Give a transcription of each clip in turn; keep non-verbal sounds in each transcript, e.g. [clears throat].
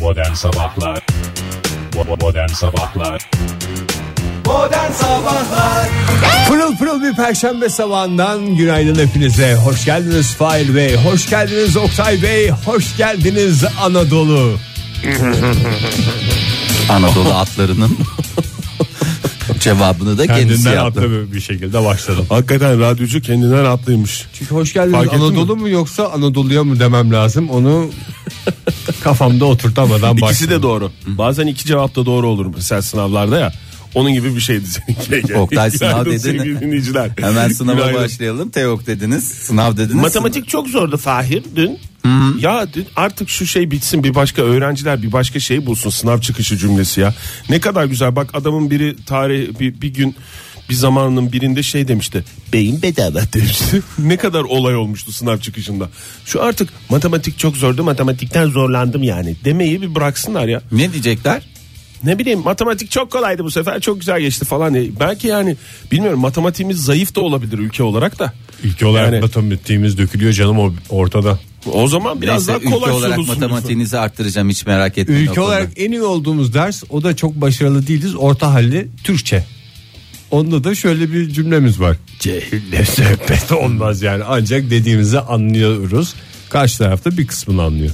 Modern Sabahlar Bo- Modern Sabahlar Modern Sabahlar Pırıl pırıl bir perşembe sabahından günaydın hepinize. Hoş geldiniz Fail Bey, hoş geldiniz Oktay Bey, hoş geldiniz Anadolu. Anadolu [laughs] atlarının cevabını da kendisi Kendinden yaptı. atlı bir şekilde başladım. Hakikaten radyocu kendinden haklıymış. Çünkü hoş geldiniz Fark ettin Anadolu mu yoksa Anadolu'ya mı demem lazım onu kafamda oturtamadan İkisi başladım. de doğru. Bazen iki cevap da doğru olur mesela sınavlarda ya. Onun gibi bir şeydi seninki. [laughs] Oktay sınav Günaydın dedi. sevgili dinleyiciler. Hemen sınava Günaydın. başlayalım. Teok dediniz, sınav dediniz. Matematik çok zordu Fahir dün. Ya dün artık şu şey bitsin bir başka öğrenciler bir başka şey bulsun sınav çıkışı cümlesi ya. Ne kadar güzel bak adamın biri tarih bir, bir gün bir zamanın birinde şey demişti. Beyin bedava [laughs] demişti. ne kadar olay olmuştu sınav çıkışında. Şu artık matematik çok zordu matematikten zorlandım yani demeyi bir bıraksınlar ya Sınav- Ne diyecekler? ne bileyim matematik çok kolaydı bu sefer çok güzel geçti falan diye. Belki yani bilmiyorum matematiğimiz zayıf da olabilir ülke olarak da. İlk olarak Yani- matematiğimiz dökülüyor canım o ortada. O zaman biraz Neyse, daha ülke kolay olarak sunulsun. matematiğinizi arttıracağım hiç merak etmeyin. o Ülke konuda. olarak en iyi olduğumuz ders o da çok başarılı değiliz orta halli Türkçe. Onda da şöyle bir cümlemiz var. Cehille sohbet [laughs] olmaz yani ancak dediğimizi anlıyoruz. Karşı tarafta bir kısmını anlıyor.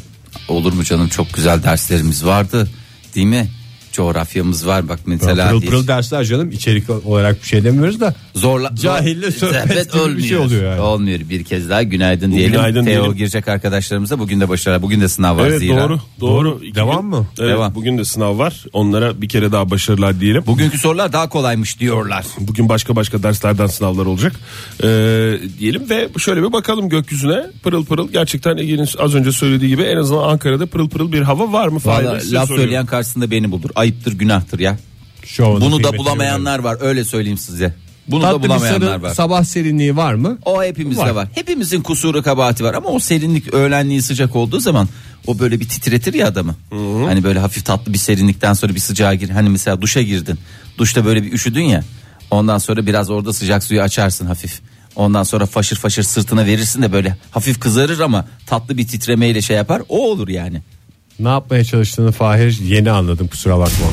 Olur mu canım çok güzel derslerimiz vardı değil mi? Coğrafyamız var bak mesela. pırıl pırıl dersler canım içerik olarak bir şey demiyoruz da. Zorla, Cahille zor- sohbet gibi bir olmuyor. şey oluyor yani. Olmuyor bir kez daha günaydın diyelim. Günaydın Teo diyelim. girecek arkadaşlarımıza bugün de başarılar. Bugün de sınav var Evet zira. doğru doğru. İki Devam mı? Evet, Devam. Bugün de sınav var. Onlara bir kere daha başarılar diyelim. Bu- Bugünkü sorular daha kolaymış diyorlar. Bugün başka başka derslerden sınavlar olacak. Ee, diyelim ve şöyle bir bakalım gökyüzüne pırıl pırıl. Gerçekten Ege'nin az önce söylediği gibi en azından Ankara'da pırıl pırıl bir hava var mı? Fahir Bey? Vallahi Size laf soruyorum. söyleyen karşısında beni bulur. Ayıptır günahtır ya. Şu anda Bunu da kıymetini bulamayanlar var öyle söyleyeyim size. Bunu Tatlı da bir bulamayanlar sarı var. sabah serinliği var mı? O hepimizde var. Var. Hepimizin kusuru kabahati var ama o serinlik öğlenliği sıcak olduğu zaman o böyle bir titretir ya adamı. Hani böyle hafif tatlı bir serinlikten sonra bir sıcağa gir. Hani mesela duşa girdin. Duşta böyle bir üşüdün ya. Ondan sonra biraz orada sıcak suyu açarsın hafif. Ondan sonra faşır faşır sırtına verirsin de böyle hafif kızarır ama tatlı bir titremeyle şey yapar. O olur yani. Ne yapmaya çalıştığını Fahir yeni anladım kusura bakma.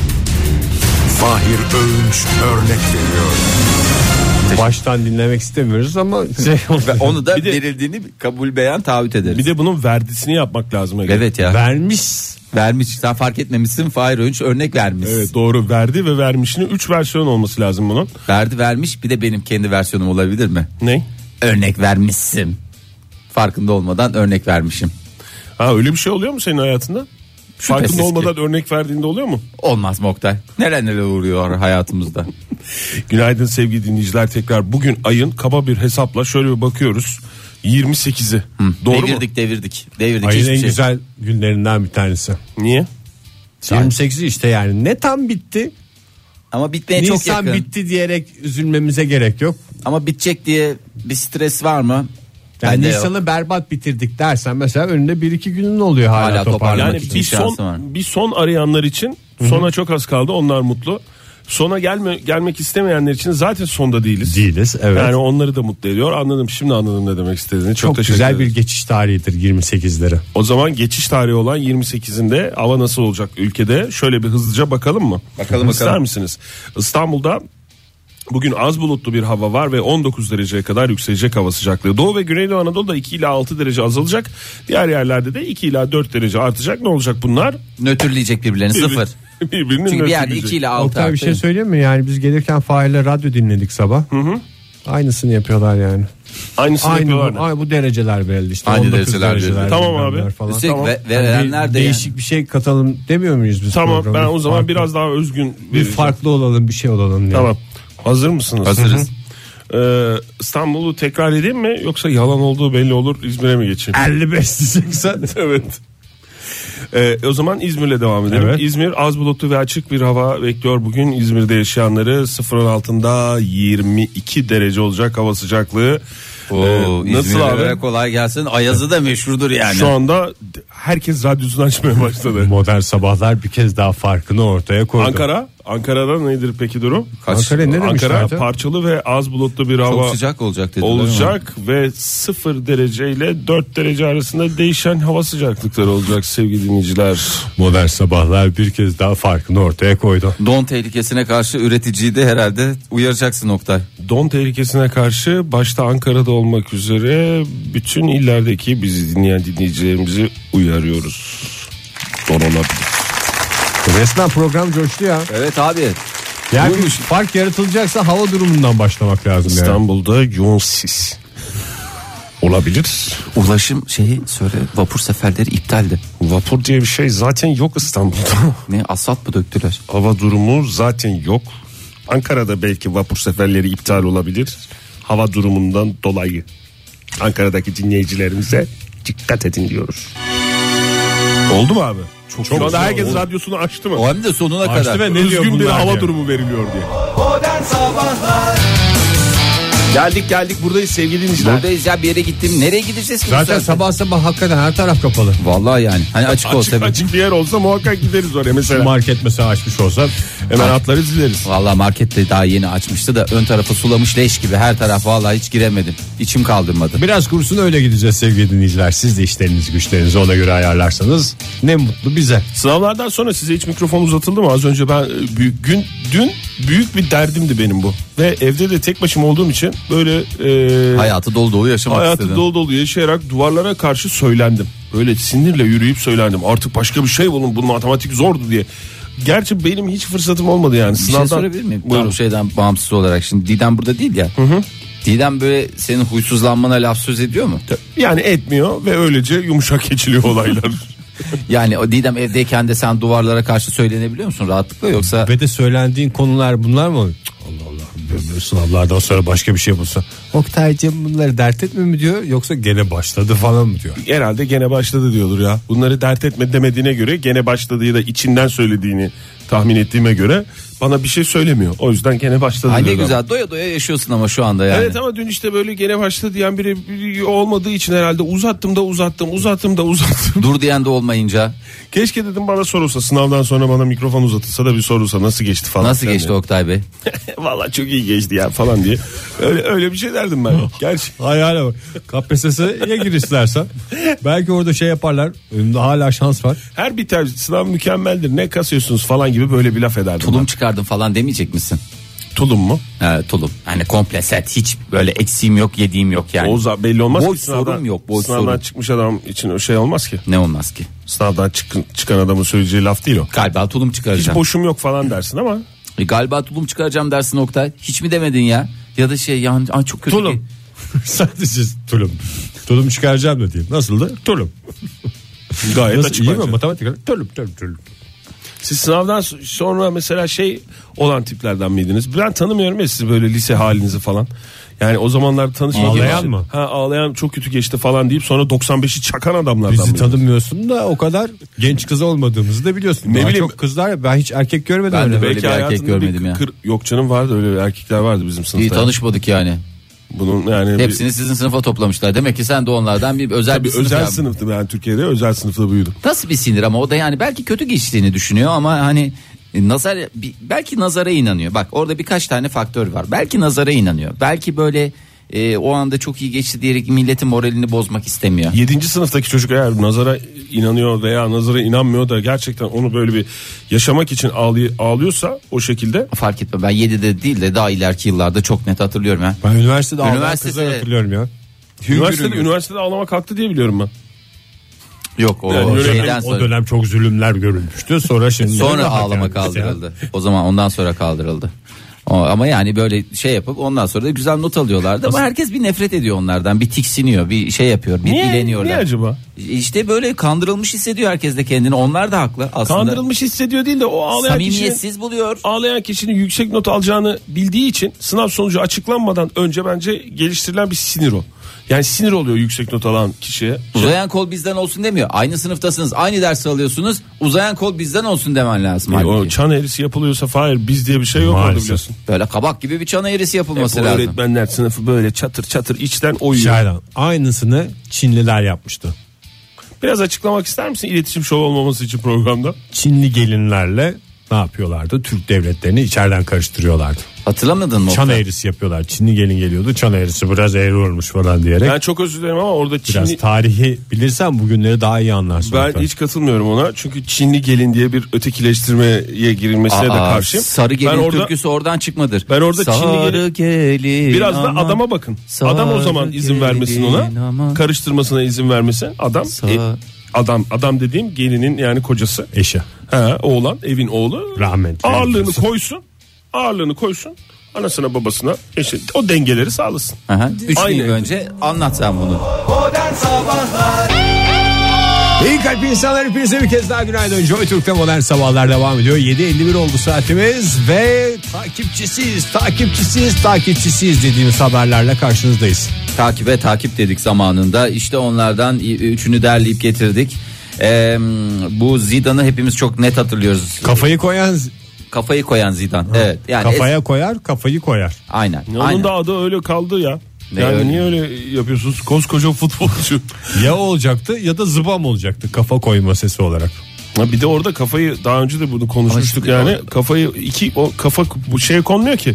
Fahir Öğünç örnek veriyor Baştan dinlemek istemiyoruz ama şey [laughs] [laughs] Ve onu da Bir de- verildiğini kabul beyan taahhüt ederiz. Bir de bunun verdisini yapmak lazım. Ege. evet ya. vermiş Vermiş. Sen fark etmemişsin. Fahir Önç örnek vermiş. Evet doğru verdi ve vermişinin 3 versiyon olması lazım bunun. Verdi vermiş. Bir de benim kendi versiyonum olabilir mi? Ne? Örnek vermişsin. Farkında olmadan örnek vermişim. Ha öyle bir şey oluyor mu senin hayatında? Şüphesiz Farkında ki. olmadan örnek verdiğinde oluyor mu? Olmaz mı Oktay? Neler neler uğruyor hayatımızda. Günaydın sevgili dinleyiciler tekrar bugün ayın kaba bir hesapla şöyle bir bakıyoruz. 28'i. Doğru mu? devirdik, devirdik. Devirdik ayın hiçbir en şey. güzel günlerinden bir tanesi. Niye? 28'i işte yani ne tam bitti Ama bitmeye çok Nisan yakın. bitti diyerek üzülmemize gerek yok. Ama bitecek diye bir stres var mı? Yani Bende yok. Nisan'ı berbat bitirdik dersen mesela önünde bir iki günün oluyor hala, Hala toparlanmak. toparlamak Yani için bir şansı son var. bir son arayanlar için sona çok az kaldı. Onlar mutlu. Sona gelme, gelmek istemeyenler için zaten sonda değiliz. Değiliz evet. Yani onları da mutlu ediyor. Anladım. Şimdi anladım ne demek istediğini. Çok, çok teşekkür güzel ederim. bir geçiş tarihidir 28'leri. O zaman geçiş tarihi olan 28'inde hava nasıl olacak ülkede? Şöyle bir hızlıca bakalım mı? Bakalım, İster bakalım. misiniz? İstanbul'da bugün az bulutlu bir hava var ve 19 dereceye kadar yükselecek hava sıcaklığı. Doğu ve Güneydoğu Anadolu'da 2 ila 6 derece azalacak. Diğer yerlerde de 2 ila 4 derece artacak. Ne olacak bunlar? Nötrleyecek birbirlerini sıfır. [laughs] Birbirinin Çünkü bir yerde nötrleyecek. 2 ile 6 Oktay bir şey söyleyeyim mi? Yani biz gelirken Fahir'le radyo dinledik sabah. Aynısını yapıyorlar yani. Aynısını Aynı bu, yapıyorlar. da. ay- bu dereceler belli işte. Aynı 19 dereceler belli. dereceler Tamam bilmem abi. Falan. Üstelik Tamam. ve- Yani verenler de değişik bir şey katalım demiyor muyuz biz? Tamam programı? ben o zaman Farklı- biraz daha özgün bir vereceğim. farklı olalım bir şey olalım diye. Tamam. Hazır mısınız? Hazırız. Hı hı. Ee, İstanbul'u tekrar edeyim mi yoksa yalan olduğu belli olur İzmir'e mi geçeyim? 55 diyeceksen. [laughs] evet. Ee, o zaman İzmir'le devam edelim. Evet. İzmir az bulutlu ve açık bir hava bekliyor bugün. İzmir'de yaşayanları sıfırın altında 22 derece olacak hava sıcaklığı. Oo, Ee, nasıl İzmir'e abi? öyle kolay gelsin. Ayazı da meşhurdur yani. Şu anda herkes radyosunu açmaya [laughs] başladı. Modern sabahlar bir kez daha farkını ortaya koydu. Ankara, Ankara'da nedir peki durum? Kaç- Ankara ne Ankara demişlerdi? parçalı ve az bulutlu bir Çok hava sıcak olacak dediler ama. olacak ve 0 derece ile 4 derece arasında değişen hava sıcaklıkları olacak sevgili dinleyiciler. Modern sabahlar bir kez daha farkını ortaya koydu. Don tehlikesine karşı üreticiyi de herhalde uyaracaksın Oktay. Don tehlikesine karşı başta Ankara'da olmak üzere bütün illerdeki bizi dinleyen dinleyicilerimizi uyarıyoruz. Don olabilir. Resmen program coştu ya. Evet abi. Yani fark yaratılacaksa hava durumundan başlamak lazım yani. İstanbul'da yoğun sis. Olabilir. Ulaşım şeyi söyle vapur seferleri iptaldi. Vapur diye bir şey zaten yok İstanbul'da. Ne asfalt mı döktüler? Hava durumu zaten yok. Ankara'da belki vapur seferleri iptal olabilir. Hava durumundan dolayı. Ankara'daki dinleyicilerimize dikkat edin diyoruz. Oldu mu abi? Çok Şu anda herkes radyosunu açtı mı? O hem de sonuna kadar. ve ne diyor Üzgün bir bunlar hava diye. durumu veriliyor diye. Modern Sabahlar Geldik geldik buradayız sevgili dinleyiciler. Buradayız ya bir yere gittim. Nereye gideceğiz ki? bu Zaten saatte? sabah sabah hakikaten her taraf kapalı. Vallahi yani. Hani açık Açık olsa. açık bir yer olsa muhakkak gideriz oraya mesela. Market mesela açmış olsa Hemen atlarız gideriz. Vallahi markette daha yeni açmıştı da ön tarafı sulamış leş gibi her taraf vallahi hiç giremedim. İçim kaldırmadı. Biraz kursun öyle gideceğiz sevgili dinleyiciler. Siz de işlerinizi güçlerinizi ona göre ayarlarsanız ne mutlu bize. Sınavlardan sonra size hiç mikrofon uzatıldı mı? Az önce ben e, büyük gün dün büyük bir derdimdi benim bu. Ve evde de tek başıma olduğum için böyle e, Hayatı dolu dolu yaşamak hayatı istedim. dolu dolu yaşayarak duvarlara karşı söylendim. Böyle sinirle yürüyüp söylendim. Artık başka bir şey bulun. Bu matematik zordu diye. Gerçi benim hiç fırsatım olmadı yani. Bir şey sorabilir miyim? Buyurun. Tam şeyden bağımsız olarak şimdi Didem burada değil ya. Didem böyle senin huysuzlanmana laf söz ediyor mu? Yani etmiyor ve öylece yumuşak geçiliyor [laughs] olaylar. Yani o Didem evdeyken de sen duvarlara karşı söylenebiliyor musun rahatlıkla yoksa Ve de söylendiğin konular bunlar mı? Cık, Allah Allah böyle sınavlardan sonra başka bir şey bulsa. Oktay'cım bunları dert etme mi diyor yoksa gene başladı falan mı diyor. Herhalde gene başladı diyordur ya. Bunları dert etme demediğine göre gene başladığı da içinden söylediğini tahmin ettiğime göre bana bir şey söylemiyor. O yüzden gene başladı Ay ne diyor adam. güzel doya doya yaşıyorsun ama şu anda yani. Evet ama dün işte böyle gene başladı diyen biri, biri olmadığı için herhalde uzattım da uzattım uzattım da uzattım. Dur diyen de olmayınca Keşke dedim bana sorulsa sınavdan sonra bana mikrofon uzatılsa da bir sorulsa nasıl geçti falan. nasıl filan geçti diye. Oktay Bey? [laughs] Vallahi çok iyi geçti ya falan diye. Öyle öyle bir şey derdim [laughs] ben. Gerçi Hayale bak. KPSS'ye gir istersen. [laughs] Belki orada şey yaparlar. Önümde hala şans var. her biter sınav mükemmeldir ne kasıyorsunuz falan gibi böyle bir laf ederdim. Tulum ben. çıkardım falan demeyecek misin? Tulum mu? Ee, tulum. Hani komple set hiç böyle eksiğim yok yediğim yok yani. Oğuz abi belli olmaz. Boy ki sınavdan- sorun yok, boy Sınavdan sorun. çıkmış adam için o şey olmaz ki. Ne olmaz ki? Sınavdan çıkın, çıkan adamın söyleyeceği laf değil o. Galiba tulum Hiç çıkaracağım. boşum yok falan dersin ama E, galiba tulum çıkaracağım dersin Oktay. Hiç mi demedin ya? Ya da şey yani ay çok kötü. Tulum. ki- [laughs] Sadece tulum. Tulum çıkaracağım da diyeyim. Nasıldı? Tulum. gayet Nasıl, açık iyi bence. mi matematik? Tulum tulum tulum. Siz sınavdan so- sonra mesela şey olan tiplerden miydiniz? Ben tanımıyorum ya sizi böyle lise halinizi falan. Yani o zamanlar tanışmak Ağlayan mı? Ha ağlayan çok kötü geçti falan deyip sonra 95'i çakan adamlardan Bizi mıydiniz? tanımıyorsun da o kadar genç kız olmadığımızı da biliyorsun. Ne Ne bileyim. Çok kızlar ya, ben hiç erkek görmedim. Ben de öyle. böyle bir erkek hayatında görmedim ya. kır- yok canım vardı öyle erkekler vardı bizim İyi sınıfta. tanışmadık yani. Bunun yani bir- Hepsini sizin sınıfa toplamışlar. Demek ki sen de onlardan bir özel Tabii bir sınıf özel yapmışsın. sınıftım yani Türkiye'de özel sınıfta büyüdüm. Nasıl bir sinir ama o da yani belki kötü geçtiğini düşünüyor ama hani e, nazar bi- belki nazara inanıyor. Bak orada birkaç tane faktör var. Belki nazara inanıyor. Belki böyle e, o anda çok iyi geçti diyerek milletin moralini bozmak istemiyor. 7. sınıftaki çocuk eğer nazara inanıyor veya nazara inanmıyor da gerçekten onu böyle bir yaşamak için ağlay- ağlıyorsa o şekilde Fark etme ben 7'de değil de daha ileriki yıllarda çok net hatırlıyorum ha. Ben üniversitede ağlayan Üniversitede- kızlar hatırlıyorum ya. üniversitede, üniversitede ağlamak haklı diye biliyorum ben. Yok o Yani yönetim- şeyden O sonra. E, dönem çok zulümler görülmüştü. Sonra şimdi Sonra ağlama kaldırıldı. O zaman ondan sonra kaldırıldı. O- Ama yani böyle şey yapıp ondan sonra da güzel not alıyorlardı ama herkes bir nefret ediyor onlardan bir tiksiniyor bir şey yapıyor bir Niye- dileniyorlar. niye acaba? İşte böyle kandırılmış hissediyor herkes de kendini onlar da haklı aslında. Kandırılmış hissediyor değil de o ağlayan kişinin, Samimiyetsiz buluyor. ağlayan kişinin yüksek not alacağını bildiği için sınav sonucu açıklanmadan önce bence geliştirilen bir sinir o. Yani sinir oluyor yüksek not alan kişiye. Uzayan kol bizden olsun demiyor. Aynı sınıftasınız, aynı ders alıyorsunuz. Uzayan kol bizden olsun demen lazım. Yani E, o halbuki. çan eğrisi yapılıyorsa Fahir biz diye bir şey yok orada Maalesef. biliyorsun. Böyle kabak gibi bir çan eğrisi yapılması O lazım. öğretmenler sınıfı böyle çatır çatır içten oyuyor. Şaylan. Aynısını Çinliler yapmıştı. Biraz açıklamak ister misin iletişim şov olmaması için programda? Çinli gelinlerle ne yapıyorlardı? Türk devletlerini içeriden karıştırıyorlardı. Hatırlamadın mı? Çan eğrisi yapıyorlar. Çinli gelin geliyordu. Çan eğrisi biraz eğri olmuş falan diyerek. Ben çok özür dilerim ama orada biraz Çinli... tarihi bilirsen bugünleri daha iyi anlarsın. Ben lütfen. hiç katılmıyorum ona çünkü Çinli gelin diye bir ötekileştirmeye girilmesine de Aa, karşıyım. Sarı gelin ben orada türküsü oradan çıkmadır. Ben orada sarı Çinli gelin biraz da aman. adama bakın. Sarı adam o zaman izin gelin vermesin ona. aman. Karıştırmasına izin vermesin. Adam Sarı- e, adam adam dediğim gelinin yani kocası. Eşe. He, oğlan evin oğlu. Rahmetli. Ağırlığını koysun. Ağırlığını koysun. Anasına babasına eşi, o dengeleri sağlasın. Aha, Üç Aynen. gün önce anlat sen bunu. Modern Sabahlar İyi kalp insanlar hepinize bir kez daha günaydın. Joy Türk'te modern sabahlar devam ediyor. 7.51 oldu saatimiz ve takipçisiyiz, takipçisiyiz, takipçisiyiz dediğimiz haberlerle karşınızdayız. Takibe takip dedik zamanında. İşte onlardan i- üçünü derleyip getirdik. Ee, bu Zidane'ı hepimiz çok net hatırlıyoruz. Kafayı koyan, Kafayı koyan Zidane. Evet. Yani es- kafaya koyar, kafayı koyar. aynen. Onun aynen. da adı öyle kaldı ya. Ne yani öyle? niye öyle yapıyorsunuz? Koskoca [laughs] futbolcu. Ya o olacaktı ya da zıbam olacaktı kafa koyma sesi olarak. Ha bir de orada kafayı daha önce de bunu Ama konuşmuştuk şimdi yani. Kafayı iki o kafa bu şeye konmuyor ki.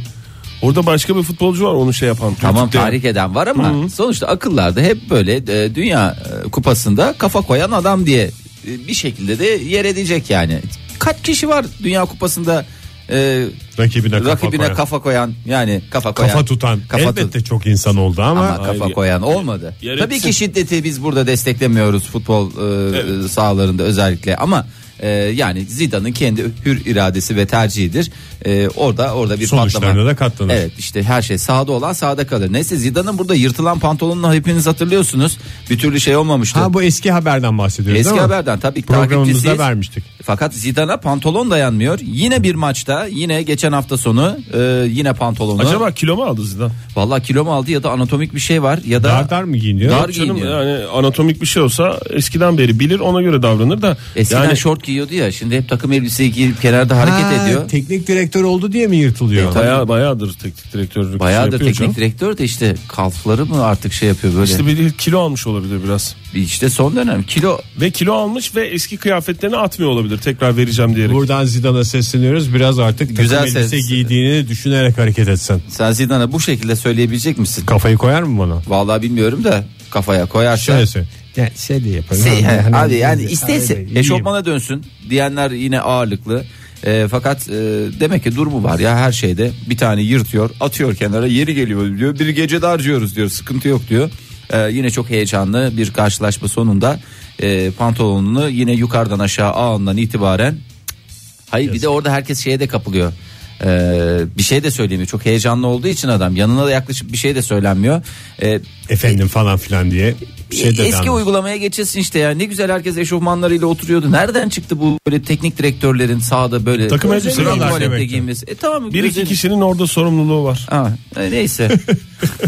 Orada başka bir futbolcu var onu şey yapan. Tamam Türk'te. tahrik eden var ama sonuçta akıllarda hep böyle e, dünya e, kupasında kafa koyan adam diye e, bir şekilde de yer edecek yani. Kaç kişi var dünya kupasında e, Rakibine kafa rakibine koyan. kafa koyan yani kafa koyan. Kafa tutan kafa tut- elbette çok insan oldu ama, ama kafa koyan olmadı. yer Tabii etsin. ki şiddeti biz burada desteklemiyoruz futbol e, sahalarında özellikle ama e, yani Zidane'ın kendi hür iradesi ve tercihidir. E, orada orada bir Sonuçlarına patlama. da katlanır. Evet işte her şey sahada olan sahada kalır. Neyse Zidane'ın burada yırtılan pantolonunu hepiniz hatırlıyorsunuz. Bir türlü şey olmamıştı. Ha bu eski haberden bahsediyoruz Eski değil mi? haberden tabii ki Programımızda takipçisiyiz. vermiştik. Fakat Zidane'a pantolon dayanmıyor. Yine bir maçta yine geçen hafta sonu e, yine pantolonu. Acaba kilo mu aldı Zidane? Vallahi kilo mu aldı ya da anatomik bir şey var ya da Dar dar mı giyiniyor? Dar- Canım giyiniyor. yani anatomik bir şey olsa eskiden beri bilir ona göre davranır da. Eskiden yani şort giyiyordu ya şimdi hep takım elbiseyi giyip kenarda hareket Ha, şey ediyor. E, Teknik direktör oldu diye mi yırtılıyor? Baya, bayağıdır teknik direktörlük şey Bayağıdır yapıyor teknik canım. direktör de işte kalfları mı artık şey yapıyor böyle. İşte İşte, bir kilo almış olabilir biraz. son dönem kilo Ve kilo almış ve eski kıyafetlerini atmıyor olabilir tekrar vereceğim diyerek. Buradan Zidane'a sesleniyoruz. Biraz artık Güzel takım elbise ses. giydiğini düşünerek hareket etsen. sen Zidane'a bu şekilde söyleyebilecek misin? Kafayı koyar mı bana? Vallahi bilmiyorum da kafaya koyarsa. Şöyle söyle. Yani şey de yaparım. [laughs] Şey, Hani- hani- abi yani hani- isteyse Abi, iyiyim. eşofmana dönsün diyenler yine ağırlıklı. E, fakat e, demek ki durumu var ya her şeyde bir tane yırtıyor atıyor kenara yeri geliyor diyor bir gece de harcıyoruz diyor sıkıntı yok diyor. E, yine çok heyecanlı bir karşılaşma sonunda e, pantolonunu yine yukarıdan aşağı ağından itibaren Hayır bir de orada herkes şeye de kapılıyor. Ee, bir şey de söyleyemiyor. Çok heyecanlı olduğu için adam yanına da yaklaşıp bir şey de söylenmiyor. Ee, Efendim falan filan diye. Bir şey de eski denmez. uygulamaya geçilsin işte ya. Ne güzel herkes eşofmanlarıyla oturuyordu. Nereden çıktı bu böyle teknik direktörlerin sahada böyle Takım elbise özel giymiş tuvalette demek ki. giyinmesi. E tamam. Bir iki özel- kişinin orada sorumluluğu var. Ha, e, neyse.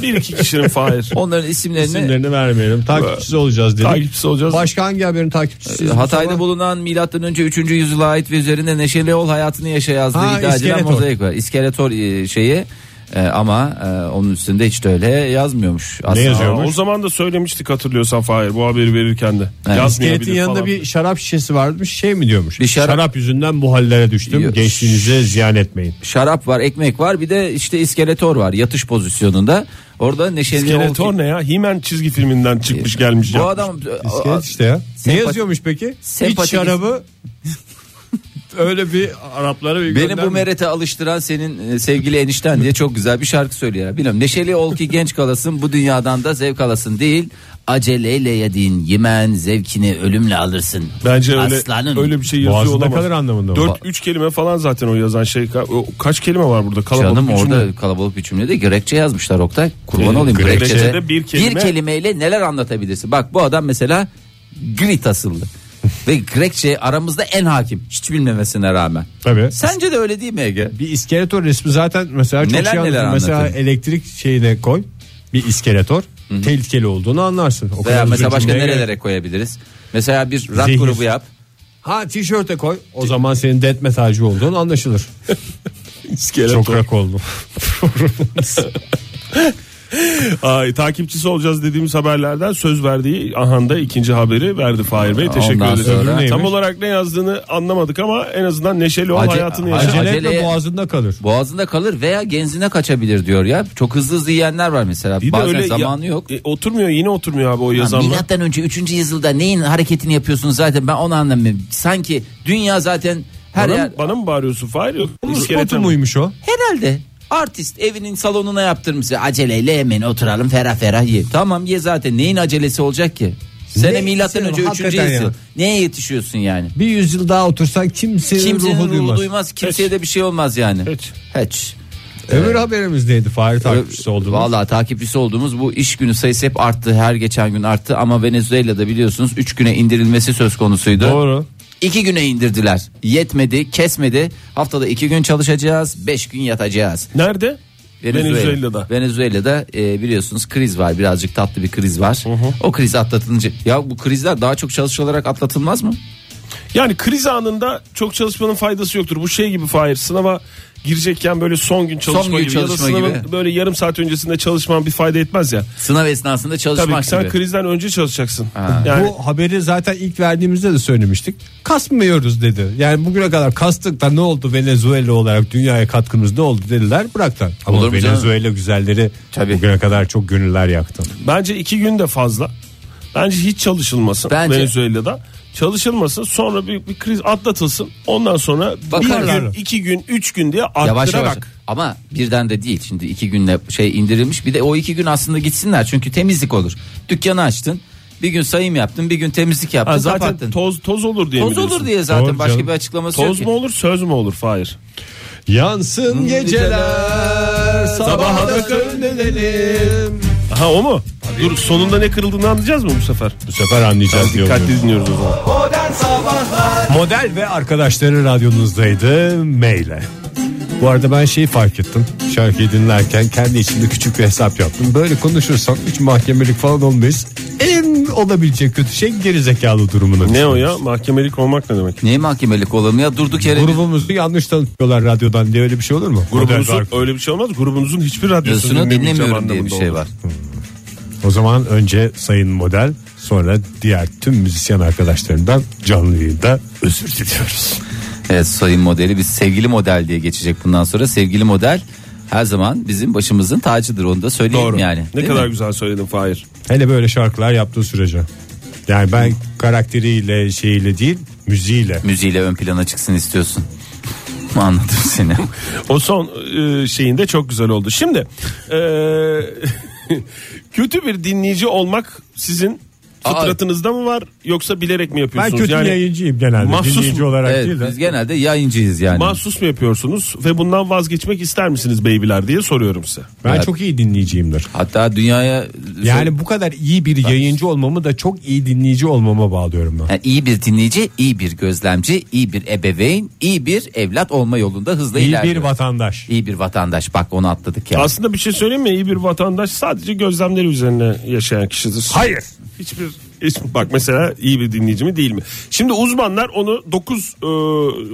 Bir iki [laughs] kişinin [laughs] Fahir. Onların isimlerini İsimlerini vermeyelim. Takipçisi olacağız dedik. Takipçisi olacağız. Başka hangi haberin takipçisi? Ee, Hatay'da bulunan milattan önce 3. yüzyıla ait ve üzerinde neşeli yol hayatını yaşa yazdığı Ha, iddia edilen iskeletor. mozaik var. İskeletor e, şeyi e, ama e, onun üstünde hiç de öyle yazmıyormuş. Aslında. yazıyor? Aa, o zaman da söylemiştik hatırlıyorsan Fahir bu haberi verirken de. Yazmayabilir İskeletin yanında falan. bir şarap şişesi varmış. Şey mi diyormuş? Bir şarap- şarap... yüzünden bu hallere düştüm. Yok. Gençliğinize ziyan etmeyin. Şarap var, ekmek var, bir de işte iskeletor var yatış pozisyonunda. Orada neşeli İskeletor yol... ne ya? He-Man çizgi filminden çıkmış gelmiş. Bu ya. adam e, İskelet işte ya. Ne Sempatik- yazıyormuş peki? Sempatik- İç [laughs] şarabı öyle bir Araplara bir Beni göndermiş. bu merete alıştıran senin e, sevgili enişten diye çok güzel bir şarkı söylüyor. ya. Bilmiyorum neşeli ol ki genç kalasın bu dünyadan da zevk alasın değil. Aceleyle yediğin yemen zevkini ölümle alırsın. Bence öyle Aslanım. öyle bir şey yazıyor Boğazında olamaz. kalır anlamında mı? 4 3 kelime falan zaten o yazan şey. Ka- o Kaç kelime var burada? Kalabalık Canım bir cümle. [laughs] orada kalabalık bir cümlede Grekçe yazmışlar Oktay. Kurban Evet, olayım Grekçe'de Grekçe'de. bir kelime- kelimeyle neler anlatabilirsin? Bak bu adam mesela Grit asıllı. Ve Grekçe aramızda en hakim. Hiç bilmemesine rağmen. Tabii. Sence de öyle değil mi Ege? Bir iskeletor resmi zaten mesela çok Neler şey neler anlatıyor. Mesela anlatıyor. elektrik şeyine koy bir iskeletor. tehlikeli olduğunu anlarsın. O Veya kadar mesela uzun başka cümleye gerek- nerelere koyabiliriz? Mesela bir rock Zehir. grubu yap. Ha tişörte koy. O zaman senin death metalci olduğun anlaşılır. İskeletor. Çok rak oldum. Ay, takipçisi olacağız dediğimiz haberlerden söz verdiği Ahanda ikinci haberi verdi Fahir Bey. Teşekkür Ondan ederiz. sonra- Öbürü Tam olarak ne yazdığını anlamadık ama en azından neşeli ol Ace- hayatını yaşa. Ace- Acele aceleye- etme boğazında kalır. Boğazında kalır veya genzine kaçabilir diyor ya. Çok hızlı hızlı yiyenler var mesela. Bir de Bazen öyle ya- zamanı yok. e, oturmuyor yine oturmuyor abi o yazanlar. Milattan önce 3. yüzyılda neyin hareketini yapıyorsunuz zaten ben onu anlamıyorum. Sanki dünya zaten her Bana, yer bana mı bağırıyorsun Fahir? Yok. Spotu İskeletor. muymuş o? herhalde Artist evinin salonuna yaptırmış. Aceleyle hemen oturalım ferah ferah ye. Tamam ye zaten. Neyin acelesi olacak ki? Sene Ne- milattan sen- önce 3. hakikaten yüzyıl. ya. Neye yetişiyorsun yani? Bir yüzyıl daha otursan kimsenin, Kimsenin ruhu duymaz. Kimseye de bir şey olmaz yani. Hiç. Hiç. Öbür haberimiz neydi? Fahir takipçisi olduğumuz. Valla takipçisi olduğumuz bu iş günü sayısı hep arttı. Her geçen gün arttı ama Venezuela'da biliyorsunuz 3 güne indirilmesi söz konusuydu. Doğru. İki güne indirdiler. Yetmedi, kesmedi. Haftada iki gün çalışacağız, beş gün yatacağız. Nerede? Venezuela'da. Venezuela'da e, biliyorsunuz kriz var. Birazcık tatlı bir kriz var. O kriz atlatılınca ya bu krizler daha çok çalışılarak atlatılmaz mı? Yani kriz anında çok çalışmanın faydası yoktur. Bu şey gibi Fahir sınava girecekken böyle son gün çalışma gün gibi çalışma ya da sınavın gibi. böyle yarım saat öncesinde çalışman bir fayda etmez ya. Sınav esnasında Tabii çalışmak ki sen gibi. krizden önce çalışacaksın. Ha. Yani Bu haberi zaten ilk verdiğimizde de söylemiştik. Kasmıyoruz dedi. Yani bugüne kadar kastık da ne oldu Venezuela olarak dünyaya katkımız ne oldu dediler bıraktan. Ama Olur mu canım? Venezuela güzelleri Tabii. bugüne kadar çok gönüller yaktı. Bence iki gün de fazla. Bence hiç çalışılmasın Bence- Venezuela'da. Çalışılmasın sonra bir, bir kriz atlatılsın. Ondan sonra Bakarlar. bir gün, iki gün, üç gün diye arttırarak. Yavaş yavaş. Ama birden de değil. Şimdi iki günle şey indirilmiş. Bir de o iki gün aslında gitsinler. Çünkü temizlik olur. Dükkanı açtın. Bir gün sayım yaptın. Bir gün temizlik yaptın. Ha, zaten kapattın. toz toz olur diye mi Toz diyorsun? olur diye zaten Doğru başka canım. bir açıklaması yok Toz ki. mu olur söz mü olur Fahir? Yansın geceler sabaha da könlenelim. Ha o mu? Dur sonunda ne kırıldığını anlayacağız mı bu sefer? Bu sefer anlayacağız diyorum. Dikkatli dinliyoruz o zaman. Modern Sabahlar Model ve arkadaşları radyonuzdaydı maile. Bu arada ben şeyi fark ettim. Şarkıyı dinlerken kendi içimde küçük bir hesap yaptım. Böyle konuşursam hiç mahkemelik falan olmayız. En olabilecek kötü şey gerizekalı durumuna Ne o düşmemiz. ya? Mahkemelik olmak ne demek? Neye mahkemelik olalım ya durduk yere. biz- Grubumuzu yanlış tanıtıyorlar radyodan diye öyle bir şey olur mu? Model ve Grubunuzun ark- öyle bir şey olmaz. Grubunuzun hiçbir Radyosunu radyosunu dinlemiyorum diye bir şey var. O zaman önce sayın model sonra diğer tüm müzisyen arkadaşlarından canlı yayında özür diliyoruz. Evet sayın modeli biz sevgili model diye geçecek bundan sonra. Sevgili model her zaman bizim başımızın tacıdır onu da söyleyeyim Doğru. yani. ne Değil kadar mi? güzel söyledin Fahir. Hele böyle şarkılar yaptığı sürece. Yani ben karakteriyle şeyiyle değil müziğiyle. Müziğiyle ön plana çıksın istiyorsun. [laughs] Anladım seni. O son e, şeyinde çok güzel oldu. Şimdi e, [laughs] kötü bir dinleyici olmak sizin Aa. fıtratınızda mı var yoksa bilerek mi Ben yapıyorsunuz? kötü yayıncıyım genelde Mahsus- dinleyici olarak evet, değil de. biz genelde yayıncıyız yani. Mahsus mu yapıyorsunuz ve bundan vazgeçmek ister misiniz beybiler diye soruyorum size. Ben Evet. çok iyi dinleyiciyimdir. Hatta dünyaya Yani bu kadar iyi bir yayıncı olmamı da çok iyi dinleyici olmama bağlıyorum ben. Yani iyi bir dinleyici, iyi bir gözlemci, iyi bir ebeveyn, iyi bir evlat olma yolunda hızla İyi bir ilerliyor. vatandaş. iyi bir vatandaş. Bak onu atladık ya. Aslında bir şey söyleyeyim mi? İyi bir vatandaş sadece gözlemleri üzerine yaşayan kişidir. Hayır. Hiçbir hiç- bak mesela iyi bir dinleyici mi değil mi? Şimdi uzmanlar onu 9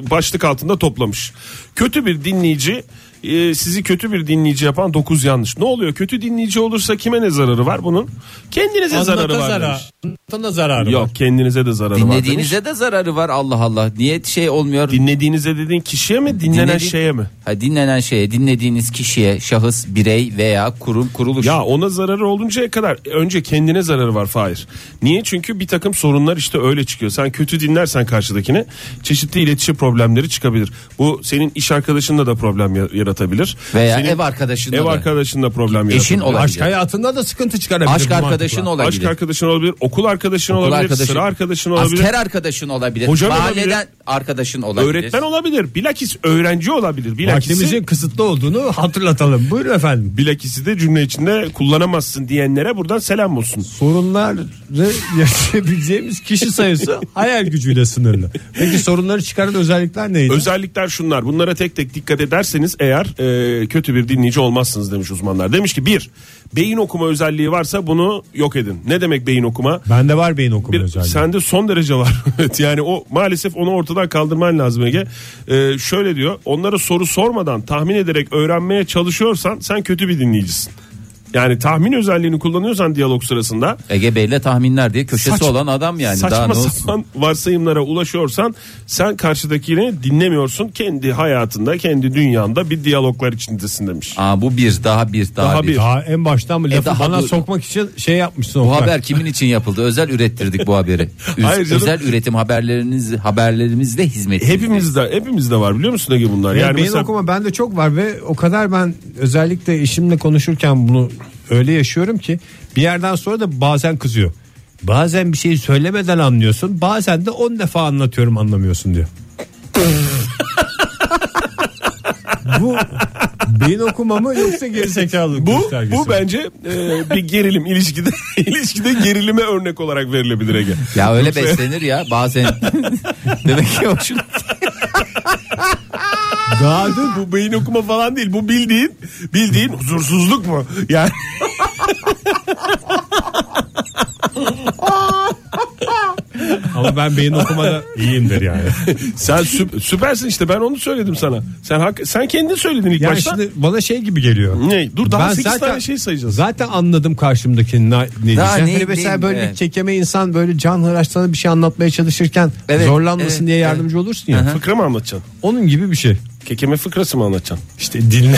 başlık altında toplamış. Kötü bir dinleyici e, sizi kötü bir dinleyici yapan 9 yanlış. Ne oluyor? Kötü dinleyici olursa kime ne zararı var bunun? Kendinize zararı var. demiş. Anlatana zararı var. Yok kendinize de zararı var. demiş. Dinlediğinize de zararı var Allah Allah. Niye şey olmuyor? Dinlediğinize dediğin kişiye mi dinlenen Dinledi- şeye mi? Ha, dinlenen şeye, dinlediğiniz kişiye, şahıs, birey veya kurum, kuruluş. Ya ona zararı oluncaya kadar e, önce kendine zararı var Fahir. Niye? Çünkü bir takım sorunlar işte öyle çıkıyor. Sen kötü dinlersen karşıdakini çeşitli iletişim problemleri çıkabilir. Bu senin iş arkadaşınla da problem ya- yaratabilir. Veya Senin ev arkadaşınla Ev da. arkadaşınla problem Eşin yaratabilir. olabilir. Aşk hayatında da sıkıntı çıkarabilir. Aşk bu arkadaşın mantıkla. olabilir. Aşk arkadaşın olabilir, okul arkadaşın Okul olabilir, arkadaşın- sıra arkadaşın olabilir. Asker arkadaşın olabilir. Hocan mahalleden olabilir. arkadaşın olabilir. Öğretmen olabilir. Bilakis öğrenci olabilir. Bilakisi, Vaktimizin kısıtlı olduğunu hatırlatalım. Buyurun efendim. bilakisi de cümle içinde kullanamazsın diyenlere buradan selam olsun. Sorunları [laughs] yaşayabileceğimiz kişi sayısı hayal gücüyle sınırlı. Peki sorunları çıkaran özellikler neydi? Özellikler şunlar. Bunlara tek tek dikkat ederseniz eğer e, kötü bir dinleyici olmazsınız demiş uzmanlar. Demiş ki bir beyin okuma özelliği varsa bunu yok edin. Ne demek beyin okuma? Bende var beyin okuma Bir, özelliği. sende son derece var. [laughs] Evet, yani o maalesef onu ortadan kaldırman lazım Ege. E, şöyle diyor. Onlara soru sormadan tahmin ederek öğrenmeye çalışıyorsan sen kötü bir dinleyicisin. Yani tahmin özelliğini kullanıyorsan diyalog sırasında Ege Bey'le tahminler diye köşesi Saç- olan adam yani. saçma Daha ne olsun? sapan [laughs] varsayımlara ulaşıyorsan sen karşıdakini dinlemiyorsun. Kendi hayatında, kendi dünyanda bir diyaloglar içindesin demiş. Aa, bu bir daha bir daha, Daha bir. E, bir. Daha en baştan mı lafı daha bana bu- sokmak için şey yapmışsın. Bu Oktay. haber kimin için yapıldı? Özel ürettirdik bu haberi. Üz- Hayır canım. özel üretim haberleriniz haberlerimizle hizmet. Hepimizde hepimizde var biliyor musun Ege bunlar? Yani Yani beyin mesela okuma bende çok var ve o kadar ben özellikle eşimle konuşurken bunu öyle yaşıyorum ki bir yerden sonra da bazen kızıyor. Bazen bir şeyi söylemeden anlıyorsun bazen de 10 defa anlatıyorum anlamıyorsun diyor. [laughs] bu beyin okuma mı yoksa gerizekalılık bu göstergesi mi? bu bence e, bir gerilim ilişkide [laughs] ilişkide gerilime örnek olarak verilebilir Ege. Ya öyle beslenir ya [laughs] bazen. Demek ki hoşuna. Daha dur, bu beyin okuma falan değil. Bu bildiğin bildiğin huzursuzluk mu? Yani Ama ben beyin okumada iyiyimdir yani. sen sü- süpersin işte ben onu söyledim sana. Sen hak, sen kendin söyledin ilk Yani başta. şimdi bana şey gibi geliyor. Ne? Dur daha Ben 8 zaten- tane şey sayacağız. Zaten anladım karşımdakinin ne, ne Daha diyeceğini. ne- Hani mesela ne- böyle bir evet. kekeme insan böyle can hıraçtan bir şey anlatmaya çalışırken Evet, zorlanmasın evet, diye evet. yardımcı olursun ya. Fıkra mı anlatacaksın? Onun gibi bir şey. Kekeme fıkrası mı anlatacaksın? İşte [laughs] dinleme.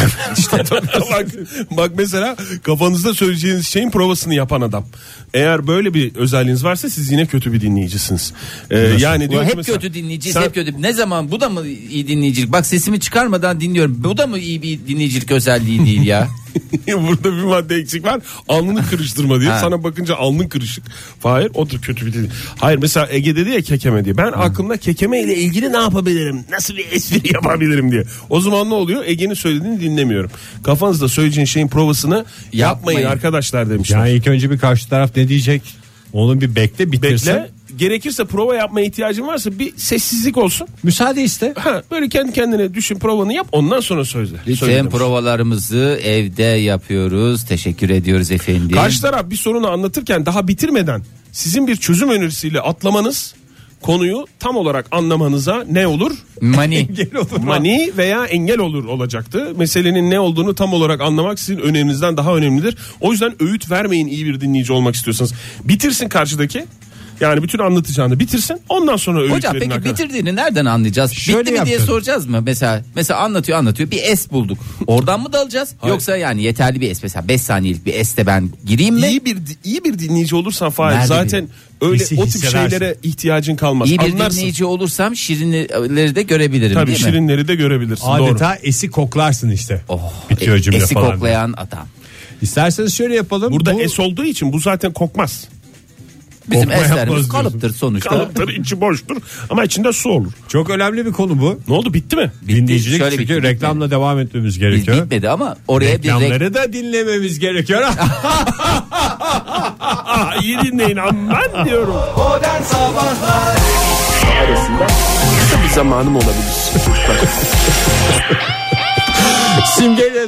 bak, bak mesela kafanızda söyleyeceğiniz şeyin provasını yapan adam. Eğer böyle bir özelliğiniz varsa siz yine kötü bir dinleyicisiniz. Ee, yani diyor ki hep mesela, kötü dinleyeceğiz sen- hep kötü. Ne zaman bu da mı iyi dinleyicilik? Bak sesimi çıkarmadan dinliyorum. Bu da mı iyi bir dinleyicilik özelliği değil ya? Burada bir madde eksik var. Alnını kırıştırma diye. Ha. Sana bakınca alnın kırışık. Hayır o da kötü bir dinleyici. Hayır mesela Ege dedi ya kekeme diye. Ben aklımda kekeme ile ilgili ne yapabilirim? Nasıl bir espri [laughs] yapabilirim diye. O zaman ne oluyor? Ege'nin söylediğini dinlemiyorum. Kafanızda söyleyeceğin şeyin provasını yapmayın, Yapmayın. arkadaşlar demişler. yani ilk önce bir karşı taraf ne diyecek? Onu bir bekle bitirsin. Bekle. Gerekirse prova yapmaya ihtiyacın varsa bir sessizlik olsun. [laughs] Müsaade iste. Ha, böyle kendi kendine düşün provanı yap ondan sonra söyle. [laughs] söyle Lütfen demiş. provalarımızı evde yapıyoruz. Teşekkür ediyoruz efendim. Karşı taraf bir sorunu anlatırken daha bitirmeden sizin bir çözüm önerisiyle atlamanız konuyu tam olarak anlamanıza ne [laughs] olur? Mani. Mani veya engel olur olacaktı. Meselenin ne olduğunu tam olarak anlamak sizin öneminizden daha önemlidir. O yüzden öğüt vermeyin iyi bir dinleyici olmak istiyorsanız. Bitirsin karşıdaki. Yani bütün anlatacağını bitirsin. Ondan sonra öğüt Hocam verin peki arkadaşlar. bitirdiğini nereden anlayacağız? Şöyle Bitti mi diye yapacağız. soracağız mı? Mesela mesela anlatıyor anlatıyor bir es bulduk. Oradan mı dalacağız? Yoksa yani yeterli bir es mesela 5 saniyelik bir este ben gireyim mi? İyi bir iyi bir dinleyici olursan Fahir Nerede zaten öyle Hissi o tip hissedersin. şeylere ihtiyacın kalmaz. İyi bir Anlarsın. dinleyici olursam şirinleri de görebilirim Tabii değil mi? şirinleri de görebilirsin. Doğru. Adeta esi koklarsın işte. Oh, Bitiyor e- cümle esi falan. koklayan adam. İsterseniz şöyle yapalım. Burada Bu- es olduğu için bu zaten kokmaz. Bizim Kokma eslerimiz yapmaz kalıptır sonuçta. Kalıptır içi boştur ama içinde su olur. çok önemli bir konu bu. Ne oldu bitti mi? Bitti, Dinleyicilik şöyle çünkü bitti, bitti. reklamla devam etmemiz Biz gerekiyor. bitmedi ama oraya bir rek- Reklamları da dinlememiz gerekiyor. [laughs] Aa, iyi dinleyin aman diyorum. Modern Sabahlar Kısa bir zamanım olabilir. Simgeyle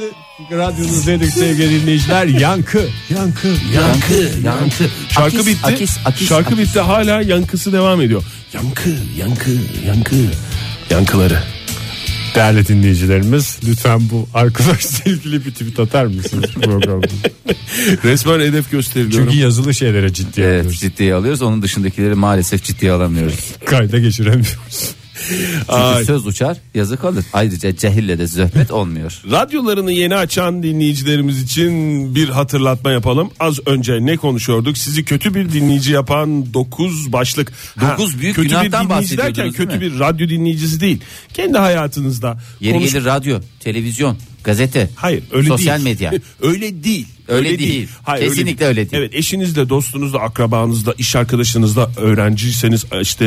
radyonuzdaydık sevgili dinleyiciler. Yankı, yankı, yankı. yankı yankı. Şarkı Akis, bitti. Akis, akis, Şarkı akis. bitti hala yankısı devam ediyor. Yankı, yankı, yankı. Yankıları. Değerli dinleyicilerimiz lütfen bu [laughs] arkadaşla ilgili bir tweet atar mısınız programda? [laughs] Resmen hedef gösteriliyorum. Çünkü yazılı şeylere ciddiye Evet alıyoruz. ciddiye alıyoruz. Onun dışındakileri maalesef ciddiye alamıyoruz. Kayda geçiremiyoruz. [laughs] Çünkü Ay. söz uçar yazı kalır. Ayrıca cehille de zöhbet olmuyor. Radyolarını yeni açan dinleyicilerimiz için bir hatırlatma yapalım. Az önce ne konuşuyorduk? Sizi kötü bir dinleyici yapan 9 başlık. Dokuz büyük kötü bir günahtan dinleyici bahsediyordunuz, derken değil kötü mi? bir radyo dinleyicisi değil. Kendi hayatınızda Yeri konuş- gelir radyo, televizyon, Gazete. Hayır öyle Sosyal değil. [laughs] medya. öyle değil. Öyle değil. Kesinlikle öyle değil. Evet eşinizle, dostunuzla, akrabanızla, iş arkadaşınızla, öğrenciyseniz işte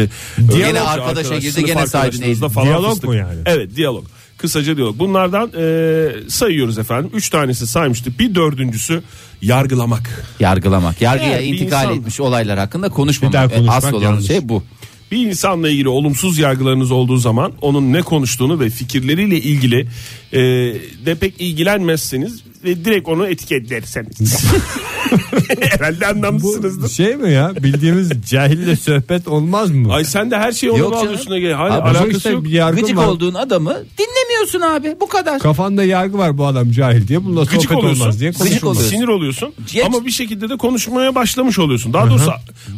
öğrenci arkadaşa arkadaş, girdi, sınıf gene sahibine arkadaşınızla eğildi. falan Diyalog fıstık. mu yani? Evet diyalog. Kısaca diyalog. Bunlardan e, sayıyoruz efendim. Üç tanesi saymıştık. Bir dördüncüsü yargılamak. Yargılamak. Yargıya Eğer bir intikal insan- etmiş olaylar hakkında Bir daha konuşmamak. E, konuşmak Asıl olan yanlış. şey bu. Bir insanla ilgili olumsuz yargılarınız olduğu zaman onun ne konuştuğunu ve fikirleriyle ilgili e, de pek ilgilenmezseniz ve direkt onu etiketlerseniz. Herhalde Bu anlamışsınızdır. şey mi ya [laughs] bildiğimiz cahille söhbet olmaz mı? Ay sen de her şeyi onun Yok canım. al üstüne gel. Hayır, Abi, alakası işte yok. bir yargım Gıcık var. olduğun adamı dinlemiyorsun abi. Bu kadar. Kafanda yargı var bu adam cahil diye. Bununla Gıcık sohbet oluyorsun. olmaz diye Gıcık konuşulmaz. oluyorsun. Sinir oluyorsun. Geç. Ama bir şekilde de konuşmaya başlamış oluyorsun. Daha doğrusu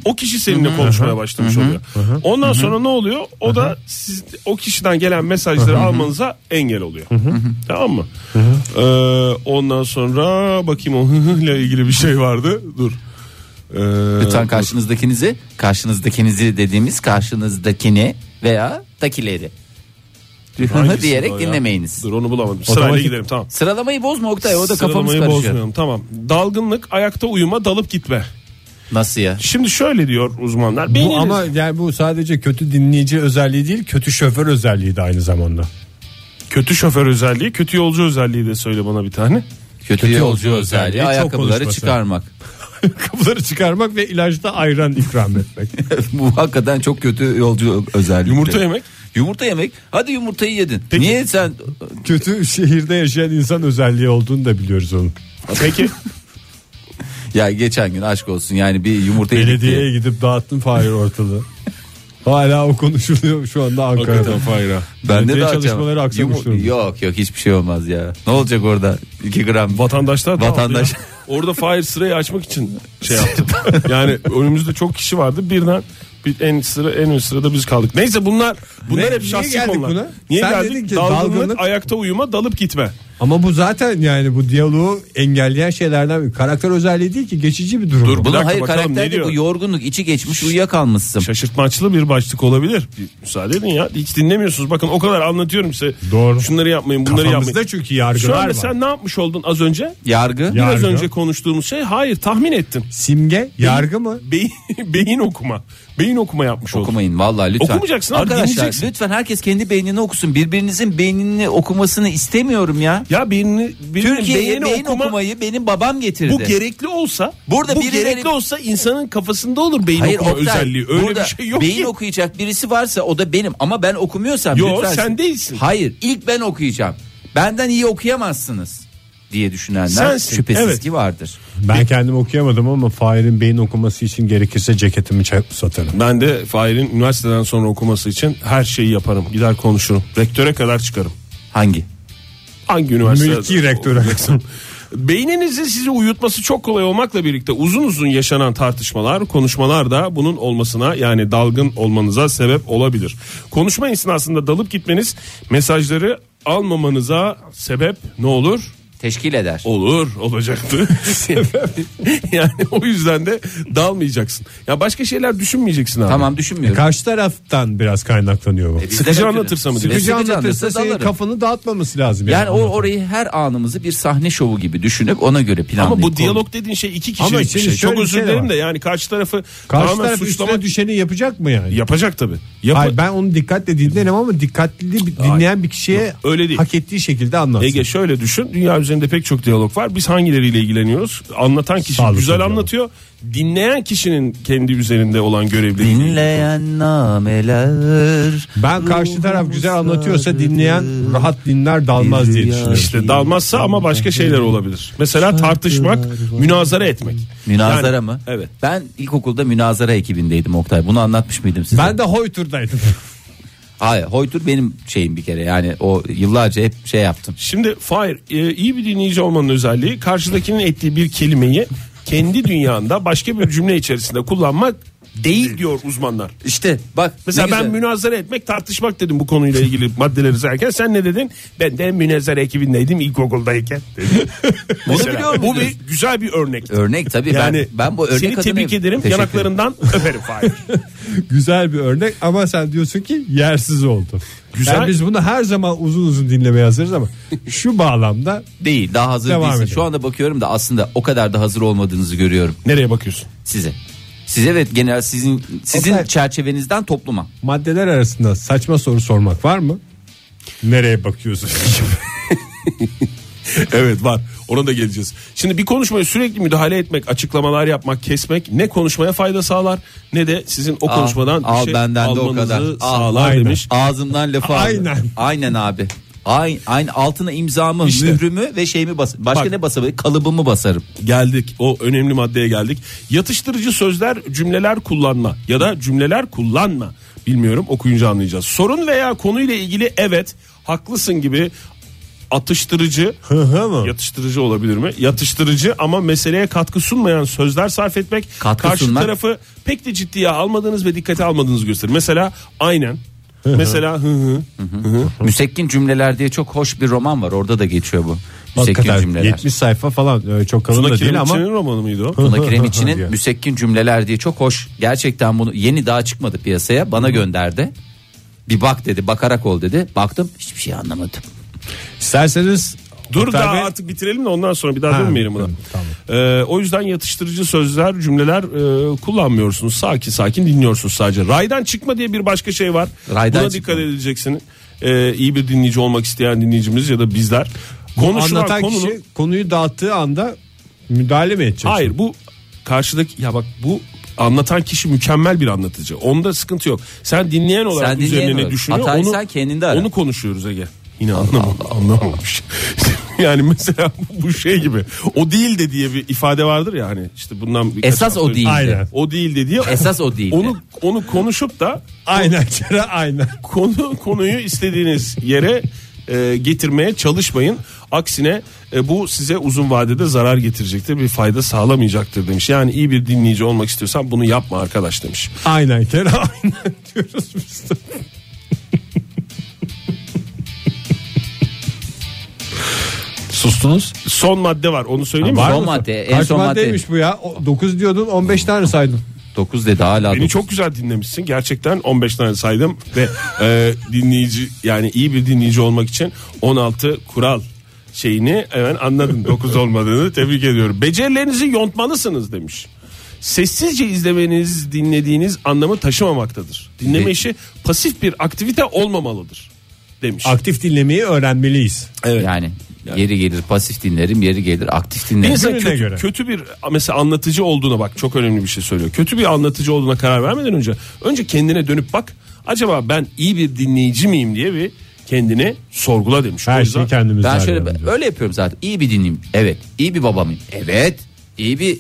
o kişi seninle konuşmaya başlamış oluyor. Ondan sonra ne oluyor? O da siz, o kişiden gelen mesajları almanıza engel oluyor. Tamam mı? Ee, ondan sonra bakayım o hı hı ile ilgili bir şey vardı. Dur. Ee, Lütfen karşınızdakinizi, karşınızdakinizi dediğimiz karşınızdakini veya takileri. hangisi [laughs] diyerek o ya? dinlemeyiniz. Dur onu bulamadım. Sırayla Otomatik- gidelim tamam. Sıralamayı bozma Oktay o da kafamız Sıralamayı karışıyor. bozmayalım tamam. Dalgınlık, ayakta uyuma, dalıp gitme. Nasıl ya? Şimdi şöyle diyor uzmanlar. Bu beyniniz- ama yani bu sadece kötü dinleyici özelliği değil, kötü şoför özelliği de aynı zamanda. Kötü şoför özelliği, kötü yolcu özelliği de söyle bana bir tane. Kötü, Kötü yolcu yolcu özelliği özelliği, çok ayakkabıları konuşması. çıkarmak. [laughs] Kapıları çıkarmak ve ilaçta ayran ikram etmek. [laughs] Bu hakikaten çok kötü yolcu özelliği. Yumurta yemek. Yumurta yemek. Hadi yumurtayı yedin. Niye sen [laughs] kötü şehirde yaşayan insan özelliği olduğunu da biliyoruz onun. [laughs] Peki ya geçen gün aşk olsun yani bir yumurta yedik diye. Belediyeye gidip dağıttın Fahir [laughs] ortalığı. Hala o konuşuluyor şu anda Ankara'da. Ben de Belediye dağıtacağım. çalışmaları aksamış Yumu- durumda. Yok yok hiçbir şey olmaz ya. Ne olacak orada? 2 gram. vatandaşlar da Vatandaş- aldı ya. Orada fire sırayı açmak için şey [laughs] yaptı. yani önümüzde çok kişi vardı. Birden bir en sıra en ön sırada biz kaldık. Neyse bunlar bunlar Ne- hep şahsi niye geldik konular. buna? Niye Sen dedin geldik? ki dalgınlık, dalgınlık- ayakta uyuma, dalıp gitme. Ama bu zaten yani bu diyaloğu engelleyen şeylerden biri. Karakter özelliği değil ki geçici bir durum. [laughs] Dur, bu- Bunun dakika hayır bakalım ne karakterde diyor? Şey- bu yorgunluk içi geçmiş uyuyakalmışsın. Şaşırtmaçlı bir başlık olabilir. Bir müsaade edin ya. Hiç dinlemiyorsunuz. Bakın o kadar anlatıyorum size. Doğru. Şunları yapmayın, bunları Kafamızda yapmayın. çünkü Şu yargılar anda var. sen ne yapmış oldun az önce? Yargı. Ya- Biraz Yargı. önce konuştuğumuz şey hayır tahmin ettim. Simge yargı mı? Beyin, beyin [laughs] okuma. Beyin okuma yapmış oldum. Okumayın vallahi lütfen. Okumayacaksın abi, Arkadaşlar dinleyeceksin. lütfen herkes kendi beynini okusun. Birbirinizin beynini okumasını istemiyorum ya. Ya beynini, birinin Türkiye'ye beynini beyin okuma, okumayı benim babam getirdi. bu gerekli olsa Burada bu birileri- gerekli olsa insanın kafasında olur beyin Hayır okuma Oktay, özelliği. Öyle burada bir şey yok Beyin ki. okuyacak birisi varsa o da benim ama ben okumuyorsam Yo, lütfen- sen değilsin. Hayır ilk ben okuyacağım. Benden iyi okuyamazsınız diye düşünenler Sensin, şüphesiz evet. ki vardır. Ben kendim okuyamadım ama Fahir'in beyin okuması için gerekirse ceketimi çak- satarım. ben de Fahir'in üniversiteden sonra okuması için her şeyi yaparım. Gider konuşurum. Rektöre kadar çıkarım. Hangi? Hangi üniversitede? Mülki rektöre. [laughs] Beyninizin sizi uyutması çok kolay olmakla birlikte uzun uzun yaşanan tartışmalar, konuşmalar da bunun olmasına yani dalgın olmanıza sebep olabilir. Konuşma esnasında dalıp gitmeniz mesajları almamanıza sebep ne olur? Teşkil eder. Olur olacaktı. [laughs] [laughs] yani o yüzden de dalmayacaksın. Ya başka şeyler düşünmeyeceksin abi. Tamam düşünmüyorum. Karşı taraftan biraz kaynaklanıyor bu. Bizde sıkıcı de- anlatırsa mı diyorsun? E, Sıkıcı anlatırsa şey, anlatırsa senin dalarım. kafanı dağıtmaması lazım. Yani o Anlatırsa. orayı her anımızı bir sahne şovu gibi düşünüp ona göre planlayıp. Ama bu konu- diyalog dediğin şey iki kişilik Ama bir şimdi şey. şöyle Çok bir özür şey de dilerim var. de yani karşı tarafı Karşı tamamen taraf suçlama üstüne düşeni yapacak mı yani? yapacak tabii. Yap Hayır ben onu dikkatle dinlerim ama dikkatli bir- dinleyen bir kişiye öyle değil. hak ettiği şekilde anlatsın. Ege şöyle düşün. Dünya üzerinde pek çok diyalog var. Biz hangileriyle ilgileniyoruz? Anlatan kişi Sağlıklı güzel diyalog. anlatıyor. Dinleyen kişinin kendi üzerinde olan görevliliği. Dinleyen nameler. Ben karşı taraf güzel anlatıyorsa dinleyen rahat dinler dalmaz diye düşünüyorum. İşte dalmazsa ama başka şeyler olabilir. Mesela tartışmak, münazara etmek. Münazara Yani- mı? Evet. Ben ilkokulda münazara ekibindeydim Oktay. Bunu anlatmış mıydım size? Ben de Hoytur'daydım. Hayır Hoytur benim şeyim bir kere yani o yıllarca hep şey yaptım. Şimdi Fahir e, iyi bir dinleyici olmanın özelliği karşıdakinin ettiği bir kelimeyi kendi dünyanda başka bir cümle içerisinde kullanmak değil diyor uzmanlar. İşte bak Mesela ne ben güzel. münazara etmek tartışmak dedim bu konuyla ilgili maddeleri sayarken sen ne dedin? Ben de münazara ekibindeydim ilkokuldayken. dedim. Bunu Mesela, biliyor bu muydun? bir güzel bir örnek. örnek tabii Yani ben ben bu örnek seni adına- tebrik ederim Teşekkür [laughs] yanaklarından öperim Fahir. [laughs] güzel bir örnek ama sen diyorsun ki yersiz oldu. Güzel. Yani biz bunu her zaman uzun uzun dinlemeye [laughs] hazırız ama şu bağlamda Değil daha hazır Devam değilsin. edelim. Şu anda bakıyorum da aslında o kadar da hazır olmadığınızı görüyorum Nereye bakıyorsun? size. Size ve genel sizin sizin Oktay. çerçevenizden topluma. maddeler arasında saçma soru sormak var mı? Nereye bakıyorsun? Evet var. Ona da geleceğiz. Şimdi bir konuşmaya sürekli müdahale etmek, açıklamalar yapmak, kesmek ne konuşmaya fayda sağlar ne de sizin o konuşmadan al bir şey benden de o almanızı kadar. Al, sağlar aynen. demiş. Ağzımdan lafı aldı. Aynen. Aynen abi. Aynı, aynı altına imzamı, mührümü ve şeyimi bas. Başka Bak. ne basabilirim? Kalıbımı basarım. Geldik. O önemli maddeye geldik. Yatıştırıcı sözler, cümleler kullanma ya da cümleler kullanma. Bilmiyorum okuyunca anlayacağız. Sorun veya konuyla ilgili evet, haklısın gibi atıştırıcı mı? Yatıştırıcı olabilir mi? Yatıştırıcı ama meseleye katkı sunmayan sözler sarf etmek Katkı karşı sunmak. tarafı pek de ciddiye almadığınız ve dikkate almadığınız gösterir. Mesela aynen. Mesela hı hı. Müsekkin cümleler diye çok hoş bir roman var. Orada da geçiyor bu. Müsekkin [laughs] Hakikaten cümleler. 70 sayfa falan öyle çok kalın Tuna da değil ama Kiremitçi'nin romanı mıydı o? [laughs] Tuna Kiremitçi'nin Yani. müsekkin cümleler diye çok hoş. Gerçekten bunu yeni daha çıkmadı piyasaya. Bana gönderdi. Bir bak dedi bakarak ol dedi. Baktım hiçbir şey anlamadım. isterseniz Dur Oktay daha Bey- artık bitirelim de ondan sonra bir daha Ha, dönmeyelim buna. tamam. Ee, o yüzden yatıştırıcı sözler, cümleler e, kullanmıyorsunuz. Sakin sakin dinliyorsunuz sadece. Raydan çıkma diye bir başka şey var. Raydan Buna çıkma. dikkat edeceksin. Ee, iyi bir dinleyici olmak isteyen dinleyicimiz ya da bizler. Konuşulan anlatan konunun... kişi konuyu dağıttığı anda müdahale mi edecek? Hayır bu karşıdaki ya bak bu anlatan kişi mükemmel bir anlatıcı. Onda sıkıntı yok. Sen dinleyen olarak Sen dinleyen üzerine ne olarak. düşünüyor Hatayı onu sen kendinde ara. onu konuşuyoruz Ege. Yine anlamam, anlamamış. [laughs] yani mesela bu şey gibi o değil de diye bir ifade vardır ya hani işte bundan birkaç Esas hafta o önce- değildi. Aynen. O değil de diye. [laughs] Esas o değildi. Onu onu konuşup da Aynen Cera aynen. konu konuyu istediğiniz yere e, getirmeye çalışmayın. Aksine e, bu size uzun vadede zarar getirecektir, bir fayda sağlamayacaktır demiş. Yani iyi bir dinleyici olmak istiyorsan bunu yapma arkadaş demiş. Aynen [laughs] Cera aynen diyoruz biz de. Sustunuz. Son madde var, onu söyleyeyim mi? Var. Son- Son madde, en Kaç son madde. maddeymiş bu ya? 9 diyordun 15 tane saydın. 9 dedi hala. Beni dokuz. çok güzel dinlemişsin. Gerçekten 15 tane saydım ve e, dinleyici yani iyi bir dinleyici olmak için 16 kural şeyini hemen anladın. 9 olmadığını tebrik ediyorum. Becerilerinizi yontmalısınız demiş. Sessizce izlemeniz, dinlediğiniz anlamı taşımamaktadır. Dinleme Ve- işi pasif bir aktivite olmamalıdır demiş. Aktif dinlemeyi öğrenmeliyiz. evet. Yani, yeri gelir pasif dinlerim, yeri gelir aktif Bir dinlerim. insan Gününe kötü, göre. kötü bir mesela anlatıcı olduğuna bak çok önemli bir şey söylüyor. Kötü bir anlatıcı olduğuna karar vermeden önce önce kendine dönüp bak acaba ben iyi bir dinleyici miyim diye bir kendini sorgula demiş. O Her yüzden şeyi kendimiz Ben şöyle ayarlayalım diyor. öyle yapıyorum zaten. İyi bir dinleyeyim. Evet. İyi bir baba mıyım? Evet. İyi bir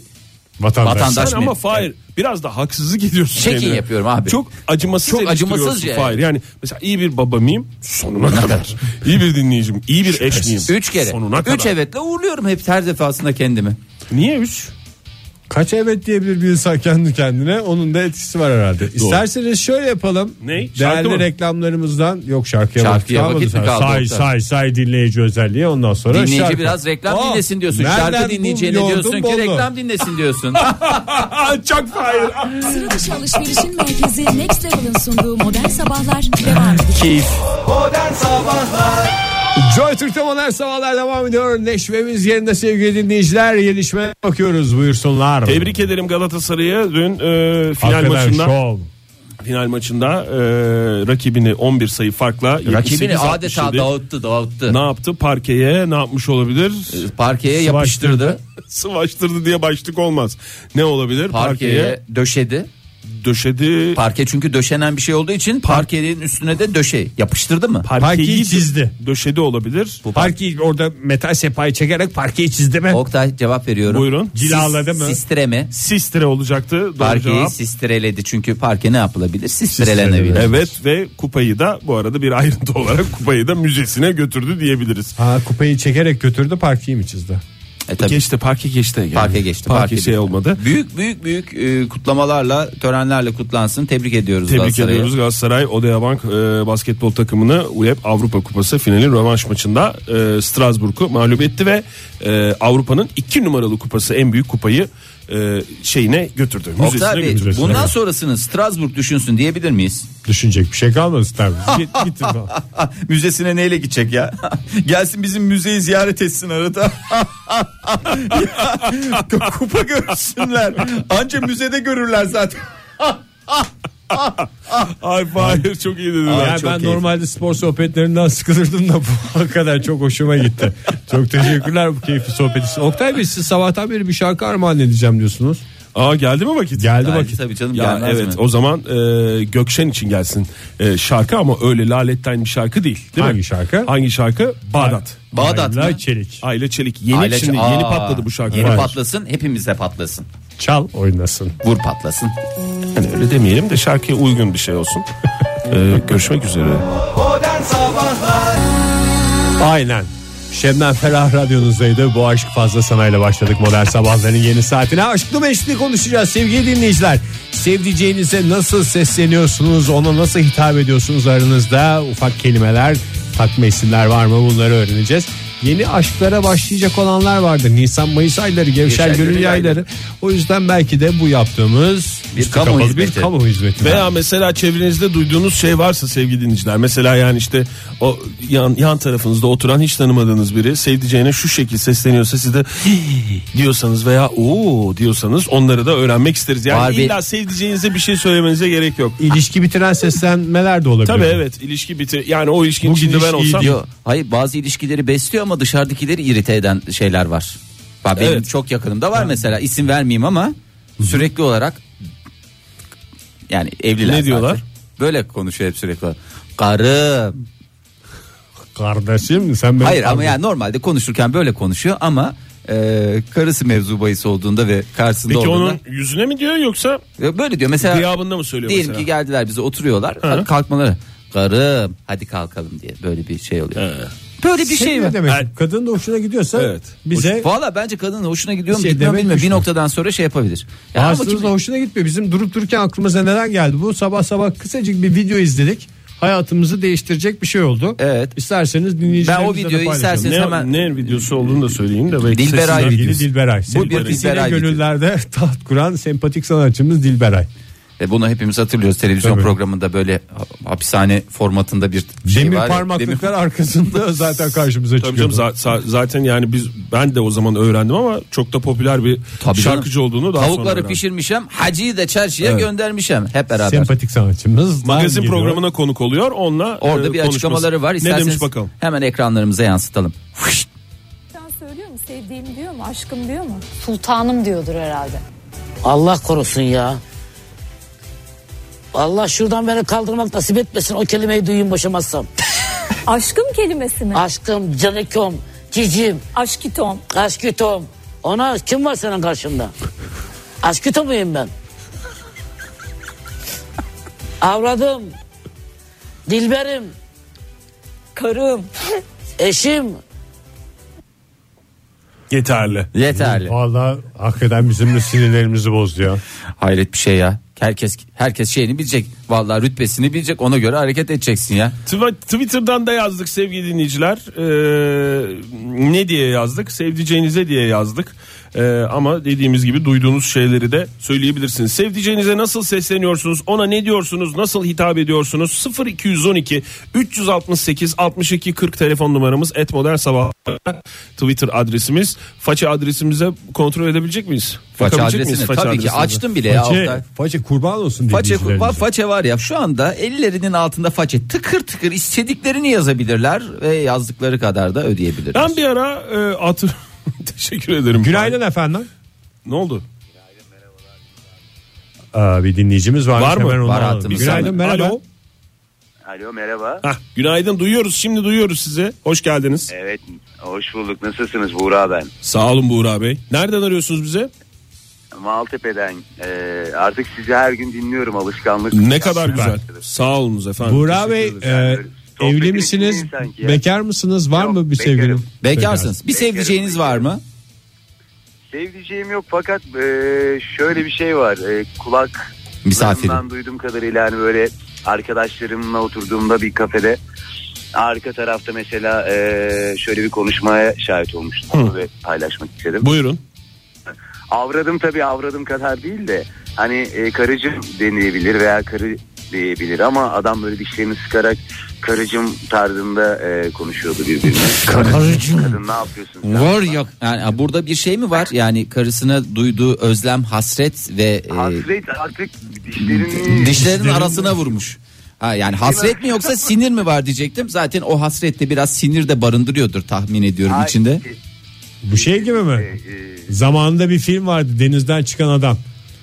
vatandaş. vatandaş- sen ama Taşmayayım. Fahir biraz da haksızlık ediyorsun. Çekin kendine. yapıyorum abi. Çok acımasız Çok Çok acımasız acımasızca Fahir. Yani mesela iyi bir baba mıyım? Sonuna [laughs] kadar. iyi bir dinleyicim, iyi bir eş miyim? üç kere. Sonuna kadar. üç evetle uğurluyorum hep her defasında kendimi. Niye üç? Kaç evet diyebilir bir insan kendi kendine onun da etkisi var herhalde. İsterseniz şöyle yapalım. Ne? Şarkı Değerli mı? reklamlarımızdan yok şarkıya, Şarkıya kalmadı vakit mi zaten. kaldı Say Oktay? say say dinleyici özelliği ondan sonra Dinleyici şarkı. biraz reklam Aa, dinlesin diyorsun. nereden Şarkı bu dinleyeceğine yoğurdun diyorsun ki bollu? reklam dinlesin diyorsun. Aa, çok Fahir. Sıra dışı alışverişin merkezi Next Level'ın sunduğu modern sabahlar devam edecek. Keyif. Modern Sabahlar Joy Türk'te modern sabahlar devam ediyor. Neşvemiz yerinde sevgili dinleyiciler. Gelişme bakıyoruz buyursunlar. Tebrik ederim Galatasaray'ı dün e, final Hakikaten maçında. şov. Final maçında e, rakibini 11 sayı farkla Rakibini 78-67 adeta dağıttı dağıttı. Ne yaptı? Parkeye ne yapmış olabilir? Parkeye yapıştırdı. [laughs] Sıvaştırdı diye başlık olmaz. Ne olabilir? Parkeye, Parkeye döşedi. döşedi. Parke çünkü döşenen bir şey olduğu için parkenin üstüne de döşe yapıştırdı mı? Parkeyi çizdi. Döşedi olabilir. Parkeyi orada metal sepayı çekerek parkeyi çizdi mi? Oktay cevap veriyorum. Buyurun. Cilaladı mı? Sistreme. Sistre olacaktı. Doğru Parkeyi cevap. sistreledi çünkü parke ne yapılabilir? Sistrelenebilir. Evet ve kupayı da bu arada bir ayrıntı [laughs] olarak kupayı da müzesine götürdü diyebiliriz. Ha kupayı çekerek götürdü parkeyi mi çizdi? E, tabii. Geçti parke geçti. Yani. Parke geçti. Parke, parke şey bitti. olmadı. Büyük büyük büyük e, kutlamalarla, törenlerle kutlansın. Tebrik ediyoruz Tebrik Galatasaray'ı. ediyoruz Galatasaray Odeabank e, basketbol takımını UEF Avrupa Kupası finali rövanş maçında e, Strasbourg'u mağlup etti ve e, Avrupa'nın iki numaralı kupası en büyük kupayı e, şeyine götürdü. Müzesine Oktay Bey götürdü. müzesine. bundan sonrasını Strasbourg düşünsün diyebilir miyiz? [laughs] Düşünecek bir şey kalmadı Star Wars. Git, gittin bak. Ah, Müzesine neyle gidecek ya? [laughs] Gelsin bizim müzeyi ziyaret etsin arada. [laughs] Ya, Kupa görsünler. Anca müzede görürler zaten. Ay Fahir çok iyi dedin. Yani ha. ben çok keyifli. normalde spor sohbetlerinden sıkılırdım da bu [laughs] kadar çok hoşuma gitti. çok teşekkürler bu keyifli sohbet için. Oktay Bey siz sabahtan beri bir şarkı armağan edeceğim diyorsunuz. Aa geldi mi vakit? Geldi Geldi vakit. tabii canım, Ya gelmez evet mi? o zaman e, Gökşen için gelsin e, şarkı ama öyle laletten bir şarkı değil. değil mi? Hangi şarkı? Hangi şarkı? Bağdat. Bağdat Ayla mı? Çelik. Ayla Çelik yeni Aile- şimdi Aa, yeni patladı bu şarkı. Yeni Var. patlasın hepimize patlasın. Çal oynasın. Vur patlasın. Yani öyle demeyelim de şarkıya uygun bir şey olsun. [laughs] E, görüşmek üzere. Modern Sabahlar Aynen. Şebnem Ferah radyonuzdaydı. Bu aşk fazla sanayla başladık modern sabahların yeni saatine. Aşklı meşkli konuşacağız sevgili dinleyiciler. Sevdiceğinize nasıl sesleniyorsunuz, ona nasıl hitap ediyorsunuz aranızda? Ufak kelimeler, takma isimler var mı bunları öğreneceğiz. Yeni aşklara başlayacak olanlar vardır. Nisan Mayıs ayları, gevşer Gevşer gönül gönül yayları. O yüzden belki de bu yaptığımız Bir üstü kamu kapalı hizmeti. bir kamu hizmeti. Veya mesela çevrenizde duyduğunuz şey varsa sevgili dinleyiciler. Mesela yani işte o yan, yan tarafınızda oturan hiç tanımadığınız biri sevdiceğine şu şekil sesleniyorsa siz de "Hii" diyorsanız veya ooo diyorsanız onları da öğrenmek isteriz. Yani Var bir- illa sevdiceğinize bir şey söylemenize gerek yok. İlişki bitiren seslenmeler de olabilir. Tabii evet ilişki bitir yani o ilişkinin Bu içinde ben gidiş iyi olsam diyor. Yo, hayır bazı ilişkileri besliyor ama dışarıdakileri irite eden şeyler var. Bak benim Evet. çok yakınımda var mesela isim vermeyeyim ama sürekli olarak yani evliler. Ne diyorlar? zaten. Böyle konuşuyor hep sürekli. olarak. Karım. Kardeşim sen benim Hayır ama kardeşim. yani normalde konuşurken böyle konuşuyor ama e, karısı mevzu bahis olduğunda ve karşısında peki olduğunda onun yüzüne mi diyor yoksa Ya böyle diyor mesela gıyabında mı söylüyor diyelim mesela? ki geldiler bize oturuyorlar Hadi kalkmaları karım hadi kalkalım diye böyle bir şey oluyor. Böyle bir şey Şey var. ne demek? Kadın da hoşuna gidiyorsa Evet. bize Valla bence kadının hoşuna gidiyor mu Şey gitmiyor mu demek bilmiyorum. Bir güçlü. noktadan sonra şey yapabilir. Ya ama bazılarımız kim- da hoşuna gitmiyor. Bizim durup dururken aklımıza neler geldi? Bu sabah sabah kısacık bir video izledik. Hayatımızı değiştirecek bir şey oldu. Evet. İsterseniz dinleyicilerimizle Ben o de videoyu paylaşalım. isterseniz- ne, hemen- ne videosu olduğunu da söyleyin de belki Dilberay sesinden- video. Sevgili Dilberay. Bu bir Dilberay gönüllerde [laughs] taht kuran sempatik sanatçımız Dilberay. E bunu hepimiz hatırlıyoruz televizyon Tabii. programında böyle ha- hapishane formatında bir şey Demir var. ya, parmaklıklar [laughs] demir- [laughs] arkasında zaten karşımıza Tabii çıkıyor. canım za- za- zaten yani biz ben de o zaman öğrendim ama çok da popüler bir Tabii canım. şarkıcı olduğunu daha sonra Tavukları öğrendim. pişirmişem, hacıyı da çarşıya göndermişem hep beraber. Sempatik sanatçımız. Magazin Geliyor. programına konuk oluyor. Onunla Orada e, bir konuşması. açıklamaları var. Ne İsterseniz demiş bakalım. hemen ekranlarımıza yansıtalım. Huşt. Sen söylüyor mu? Sevdiğim diyor mu? Aşkım diyor mu? Sultanım diyordur herhalde. Allah korusun ya. Allah şuradan beni kaldırmak nasip etmesin. O kelimeyi duyayım boşamazsam. Aşkım kelimesi mi? Aşkım, canikom, cicim, Aşkitom. aşkütom. Ona kim var senin karşında? Aşkütom muyum ben? Avradım, dilberim, Karım. eşim. Yeterli. Yeterli. Vallahi hakikaten bizim de sinirlerimizi bozdu ya. Hayret bir şey ya. Herkes herkes şeyini bilecek. Vallahi rütbesini bilecek. Ona göre hareket edeceksin ya. Tw- Twitter'dan da yazdık sevgili dinleyiciler. Ee, ne diye yazdık? Sevdiceğinize diye yazdık. Ee, ama dediğimiz gibi duyduğunuz şeyleri de söyleyebilirsiniz. Sevdiceğinize nasıl sesleniyorsunuz? Ona ne diyorsunuz? Nasıl hitap ediyorsunuz? 0212 368 62 40 telefon numaramız et modern sabah Twitter adresimiz. Faça adresimize kontrol edebilecek miyiz? Faça Bakabilecek miyiz adresini faça tabii ki adresimize? açtım bile ya. Oktay. Façe, façe kurban olsun E, Façe, fa- dinleyicilerimize. façe var ya şu anda ellerinin altında façe tıkır tıkır istediklerini yazabilirler ve yazdıkları kadar da ödeyebilirler. Ben bir ara e, atı [laughs] teşekkür ederim. Günaydın efendim. Ne oldu? Aa, Ee, bir dinleyicimiz varmış. Var mı? Hemen onu Var alalım. hattımızda. Günaydın merhaba. Alo. Alo merhaba. Hah, günaydın duyuyoruz şimdi duyuyoruz sizi. Hoş geldiniz. Evet hoş bulduk. Nasılsınız Buğra ben? Sağ olun Buğra Bey. Nereden arıyorsunuz bize? Maltepe'den. Ee, artık sizi her gün dinliyorum alışkanlık. Ne kadar Yapmaya güzel. başladım. Sağ olunuz efendim. Buğra Bey Teşekkür e, ederiz. Sohbetin evli misiniz? içindeyim sanki ya. Bekar mısınız? Var Yok, mı bir bekarım. sevgilin? Bekarsınız. Bir sevdiceğiniz var mı? Sevdiceğim yok fakat e, şöyle bir şey var. E, kulak Misafirim. kulağımdan duyduğum kadarıyla hani böyle arkadaşlarımla oturduğumda bir kafede arka tarafta mesela e, şöyle bir konuşmaya şahit olmuştum ve paylaşmak istedim. Buyurun. Avradım tabii avradım kadar değil de hani e, karıcım denilebilir veya karı diyebilir ama adam böyle dişlerini sıkarak karıcım tarzında e, konuşuyordu [laughs] birbirine. Kadın ne yapıyorsun? sen? Var yok. Yani burada bir şey mi var? Yani karısına duyduğu özlem, hasret ve e, Hasret artık dişlerini... dişlerin arasına vurmuş. Ha yani hasret mi yoksa sinir mi var diyecektim. Zaten o hasret de biraz sinir de barındırıyordur tahmin ediyorum Ay, içinde. e, Bu şey gibi mi? Ee, Zamanında bir film vardı denizden çıkan adam.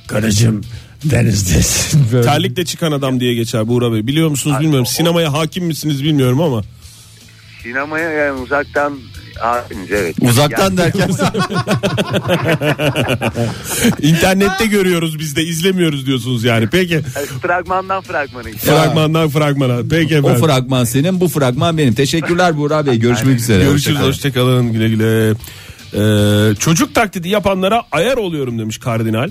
Karıcığım denizdesin. [laughs] Böyle. Terlikle çıkan adam diye geçer Buğra Bey. Biliyor musunuz bilmiyorum. Sinemaya hakim misiniz bilmiyorum ama. Sinemaya yani uzaktan abimiz evet. [laughs] Uzaktan derken İnternette görüyoruz biz de izlemiyoruz diyorsunuz yani. Peki Yani, e, fragmandan fragmana işte. fragmandan fragmana. Peki o efendim. fragman senin, bu fragman benim. Teşekkürler Buğra Bey. Görüşmek üzere. Görüşürüz Hoşçakalın. hoşçakalın güle güle. Ee, çocuk taklidi yapanlara ayar oluyorum demiş kardinal.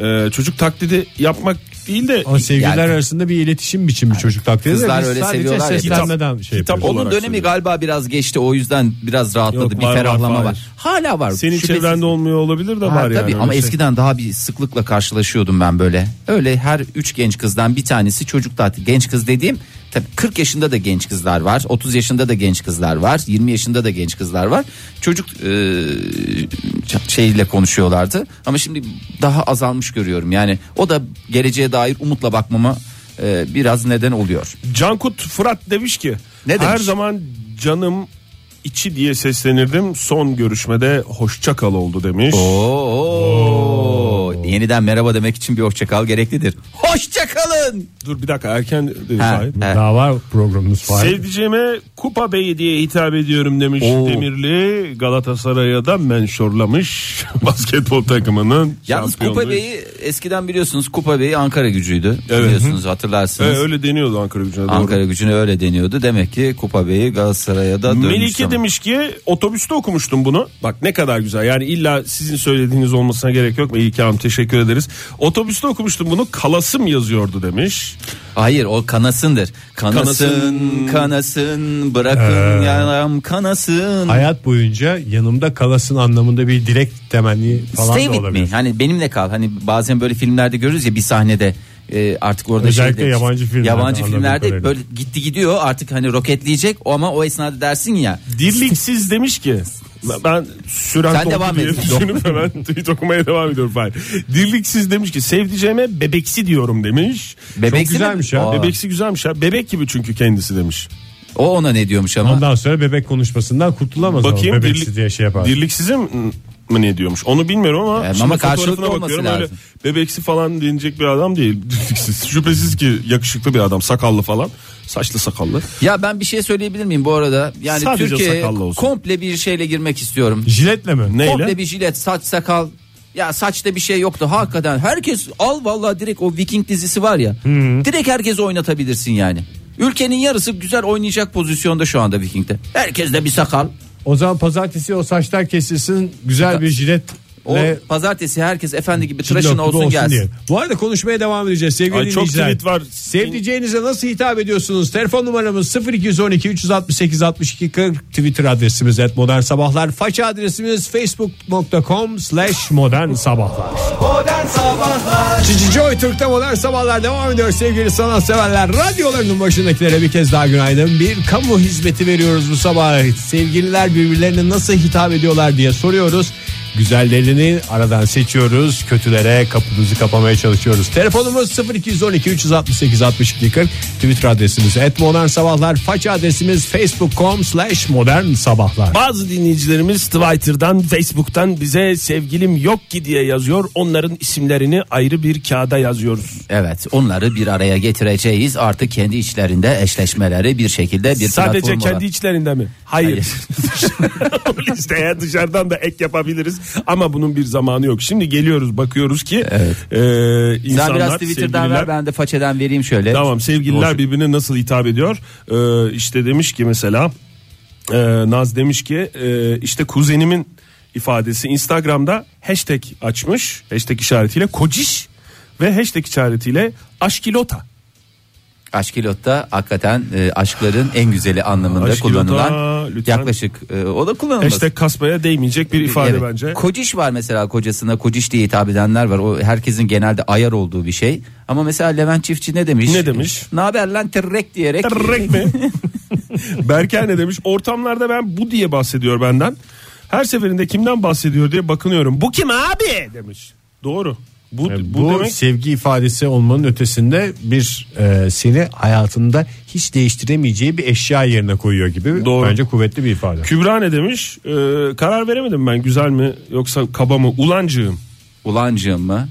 Ee, çocuk taklidi yapmak değil de Ama sevgililer Yani- arasında bir iletişim biçimi çocuk taklidi. Kızlar Biz öyle sadece seviyorlar ya. seslenmeden şey Kitap- yapıyoruz. Onun olarak dönemi söylüyorum. galiba biraz geçti o yüzden biraz rahatladı Yok, bir var, var, ferahlama var, var. Hala var. senin Şüphesiz. çevrende olmuyor olabilir de Ha, var tabii yani. ama Öyle şey. eskiden daha bir sıklıkla karşılaşıyordum ben böyle. Öyle her üç genç kızdan bir tanesi çocuk tatili. Genç kız dediğim tabii 40 yaşında da genç kızlar var. 30 yaşında da genç kızlar var. 20 yaşında da genç kızlar var. Çocuk eee, şeyle konuşuyorlardı. Ama şimdi daha azalmış görüyorum. Yani o da geleceğe dair umutla bakmama eee, biraz neden oluyor. Cankut Fırat demiş ki Ne her demiş? zaman canım içi diye seslenirdim. Son görüşmede hoşça kal oldu demiş. Oo. Yeniden merhaba demek için bir hoşça kal gereklidir. Hoşça kalın. Dur bir dakika erken dedi. Ha, Hayır. ha. Daha var programımız var. Sevdiceğime Kupa Bey diye hitap ediyorum demiş Oo. Demirli. Galatasaray'a da menşorlamış [laughs] basketbol takımının Yalnız şampiyonluğu. Kupa Bey'i eskiden biliyorsunuz Kupa Bey'i Ankara gücüydü. Evet. Biliyorsunuz Ee, hatırlarsınız. öyle deniyordu Ankara gücüne doğru. Ankara gücüne öyle deniyordu. Demek ki Kupa Bey'i Galatasaray'a da dönmüş. Melike zaman. demiş ki otobüste okumuştum bunu. Bak ne kadar güzel. Yani illa sizin söylediğiniz olmasına gerek yok. Melike Hanım teşekkür ederiz. Otobüste okumuştum bunu. Kalasım yazıyordu demiş. Hayır o kanasındır. Kanasın kanasın, Kanasın. bırakın yanam kanasın. Hayat boyunca yanımda kalasın anlamında bir dilek temenni falan Stay da with me. olabilir. Hani benimle kal. Hani bazen böyle filmlerde görürüz ya bir sahnede e, artık orada Özellikle şey demiş. yabancı filmlerde Yabancı anladığım filmlerde kadarıyla. böyle gitti gidiyor artık hani roketleyecek o ama o esnada dersin ya Dirliksiz demiş ki ben süren Sen doldu devam diye et. [laughs] düşünüp hemen tweet okumaya devam ediyorum. Hayır. Dirliksiz demiş ki sevdiceğime bebeksi diyorum demiş. Bebeksi Çok güzelmiş mi? ha. Aa. Bebeksi güzelmiş ha. Bebek gibi çünkü kendisi demiş. o ona ne diyormuş ama. Ondan sonra bebek konuşmasından kurtulamaz Bakayım ama bebeksi dirlik- diye şey yapar. Dirliksize mi mi ne diyormuş? Onu bilmiyorum ama Yani şimdi ama fotoğrafına karşılıklı olması bakıyorum. lazım. Öyle bebeksi falan denecek bir adam değil. [laughs] Dirliksiz. Şüphesiz ki yakışıklı bir adam, sakallı falan. Saçlı sakallı. Ya ben bir şey söyleyebilir miyim bu arada? Yani Sadece Türkiye sakallı olsun. komple bir şeyle girmek istiyorum. Jiletle mi? Neyle? Komple bir jilet, saç, sakal. Ya saçta bir şey yoktu hakikaten. Herkes al vallahi direkt o Viking dizisi var ya. Direkt herkes oynatabilirsin yani. Ülkenin yarısı güzel oynayacak pozisyonda şu anda Viking'de. Herkes de bir sakal. O zaman pazartesi o saçlar kesilsin güzel bir jiletle O pazartesi herkes efendi gibi tıraşın Cillop olsun, gibi gelsin. diye. Bu arada konuşmaya devam edeceğiz sevgili Ay, çok dinleyiciler. tweet var. Sevdiceğinize nasıl hitap ediyorsunuz? Telefon numaramız 0212 368 62 40 Twitter adresimiz et modern sabahlar. Faça adresimiz facebook.com slash modern sabahlar. Modern Sabahlar Cici Joy Türk'te modern sabahlar devam ediyor sevgili sanatseverler. Radyolarının başındakilere bir kez daha günaydın. Bir kamu hizmeti veriyoruz bu sabah. Sevgililer birbirlerine nasıl hitap ediyorlar diye soruyoruz. Güzellerini aradan seçiyoruz. Kötülere kapımızı kapamaya çalışıyoruz. Telefonumuz 0212 368 62 40. Twitter adresimiz et modern sabahlar. Faça adresimiz facebook.com slash modern sabahlar. Bazı dinleyicilerimiz Twitter'dan, Facebook'tan bize sevgilim yok ki diye yazıyor. Onların isimlerini ayrı bir kağıda yazıyoruz. Evet onları bir araya getireceğiz. Artık kendi içlerinde eşleşmeleri bir şekilde bir Sadece platform olarak- kendi içlerinde mi? Hayır. [laughs] Bu listeye dışarıdan da ek yapabiliriz. Ama bunun bir zamanı yok. Şimdi geliyoruz bakıyoruz ki e, insanlar, Sen biraz Twitter'dan sevgililer- ver ben de façeden vereyim şöyle. Tamam sevgililer Doğru. birbirine nasıl hitap ediyor? Ee, işte demiş ki mesela e, Naz demiş ki e, işte kuzenimin ifadesi Instagram'da hashtag açmış. Hashtag işaretiyle kociş ve hashtag işaretiyle aşkilota. Aşkilotta hakikaten e, aşkların en güzeli anlamında Aşkilotta, kullanılan lütfen. yaklaşık e, o da kullanılmaz. Hashtag kasmaya değmeyecek bir ifade Evet. bence. Kociş var mesela kocasına kociş diye hitap edenler var. O herkesin genelde ayar olduğu bir şey. Ama mesela Levent Çiftçi ne demiş? Ne demiş? Ne haber lan tırrek diyerek. Rek mi? [laughs] Berker ne demiş? Ortamlarda ben bu diye bahsediyor benden. Her seferinde kimden bahsediyor diye bakınıyorum. Bu kim abi demiş. Doğru. Bu, Yani E, bu, bu demek sevgi ifadesi olmanın ötesinde bir e, seni hayatında hiç değiştiremeyeceği bir eşya yerine koyuyor gibi. Doğru. Bence kuvvetli bir ifade. Kübra ne demiş? Ee, karar veremedim ben güzel mi yoksa kaba mı? Ulancığım. Ulancığım mı?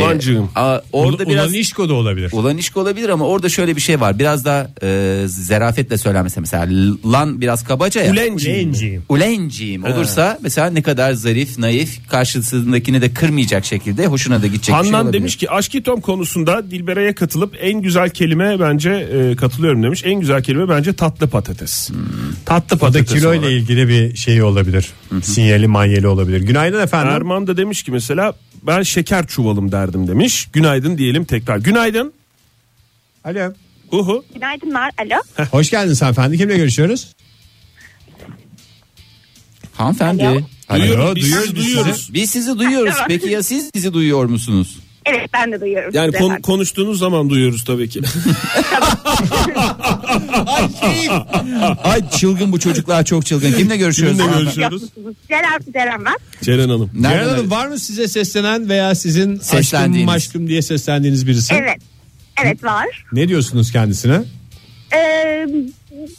Ulancığım. Ee, a- orada Ulan biraz Işko da olabilir. Ulan işk olabilir ama orada şöyle bir şey var. Biraz da e, zerafetle söylenmesi mesela lan biraz kabaca ya. Ulenciyim. Ulenciğim olursa mesela ne kadar zarif, naif, karşısındakini de kırmayacak şekilde hoşuna da gidecek bir şey Handan olabilir. demiş ki aşkitom konusunda Dilbera'ya katılıp en güzel kelime bence e, katılıyorum demiş. En güzel kelime bence tatlı patates. Tatlı Hmm. O da patates. kilo olarak. ile ilgili bir şey olabilir. Sinyali manyeli olabilir. Günaydın efendim. Erman da demiş ki mesela ben şeker çuvalım derdim demiş. Günaydın diyelim tekrar. Günaydın. Alo. Uhu. Günaydınlar. Alo. [laughs] Hoş geldiniz hanımefendi. Kimle görüşüyoruz? Hanımefendi. Alo. Alo. Duyuyoruz, duyuyoruz, biz sizi. duyuyoruz. Biz sizi duyuyoruz. Peki ya siz bizi duyuyor [laughs] musunuz? Evet ben de duyuyorum. Yani sizi kon- efendim. konuştuğunuz zaman duyuyoruz tabii ki. [laughs] Ay çılgın bu çocuklar çok çılgın. Kimle görüşüyoruz? Kimle hanımefendi? görüşüyoruz? Ceren, Ceren ben. Ceren Hanım. Nereden Ceren Hanım arıyorsunuz? var mı size seslenen veya sizin aşkım Seslendiğiniz. aşkım diye seslendiğiniz birisi? Evet. Evet var. Ne diyorsunuz kendisine? Ee,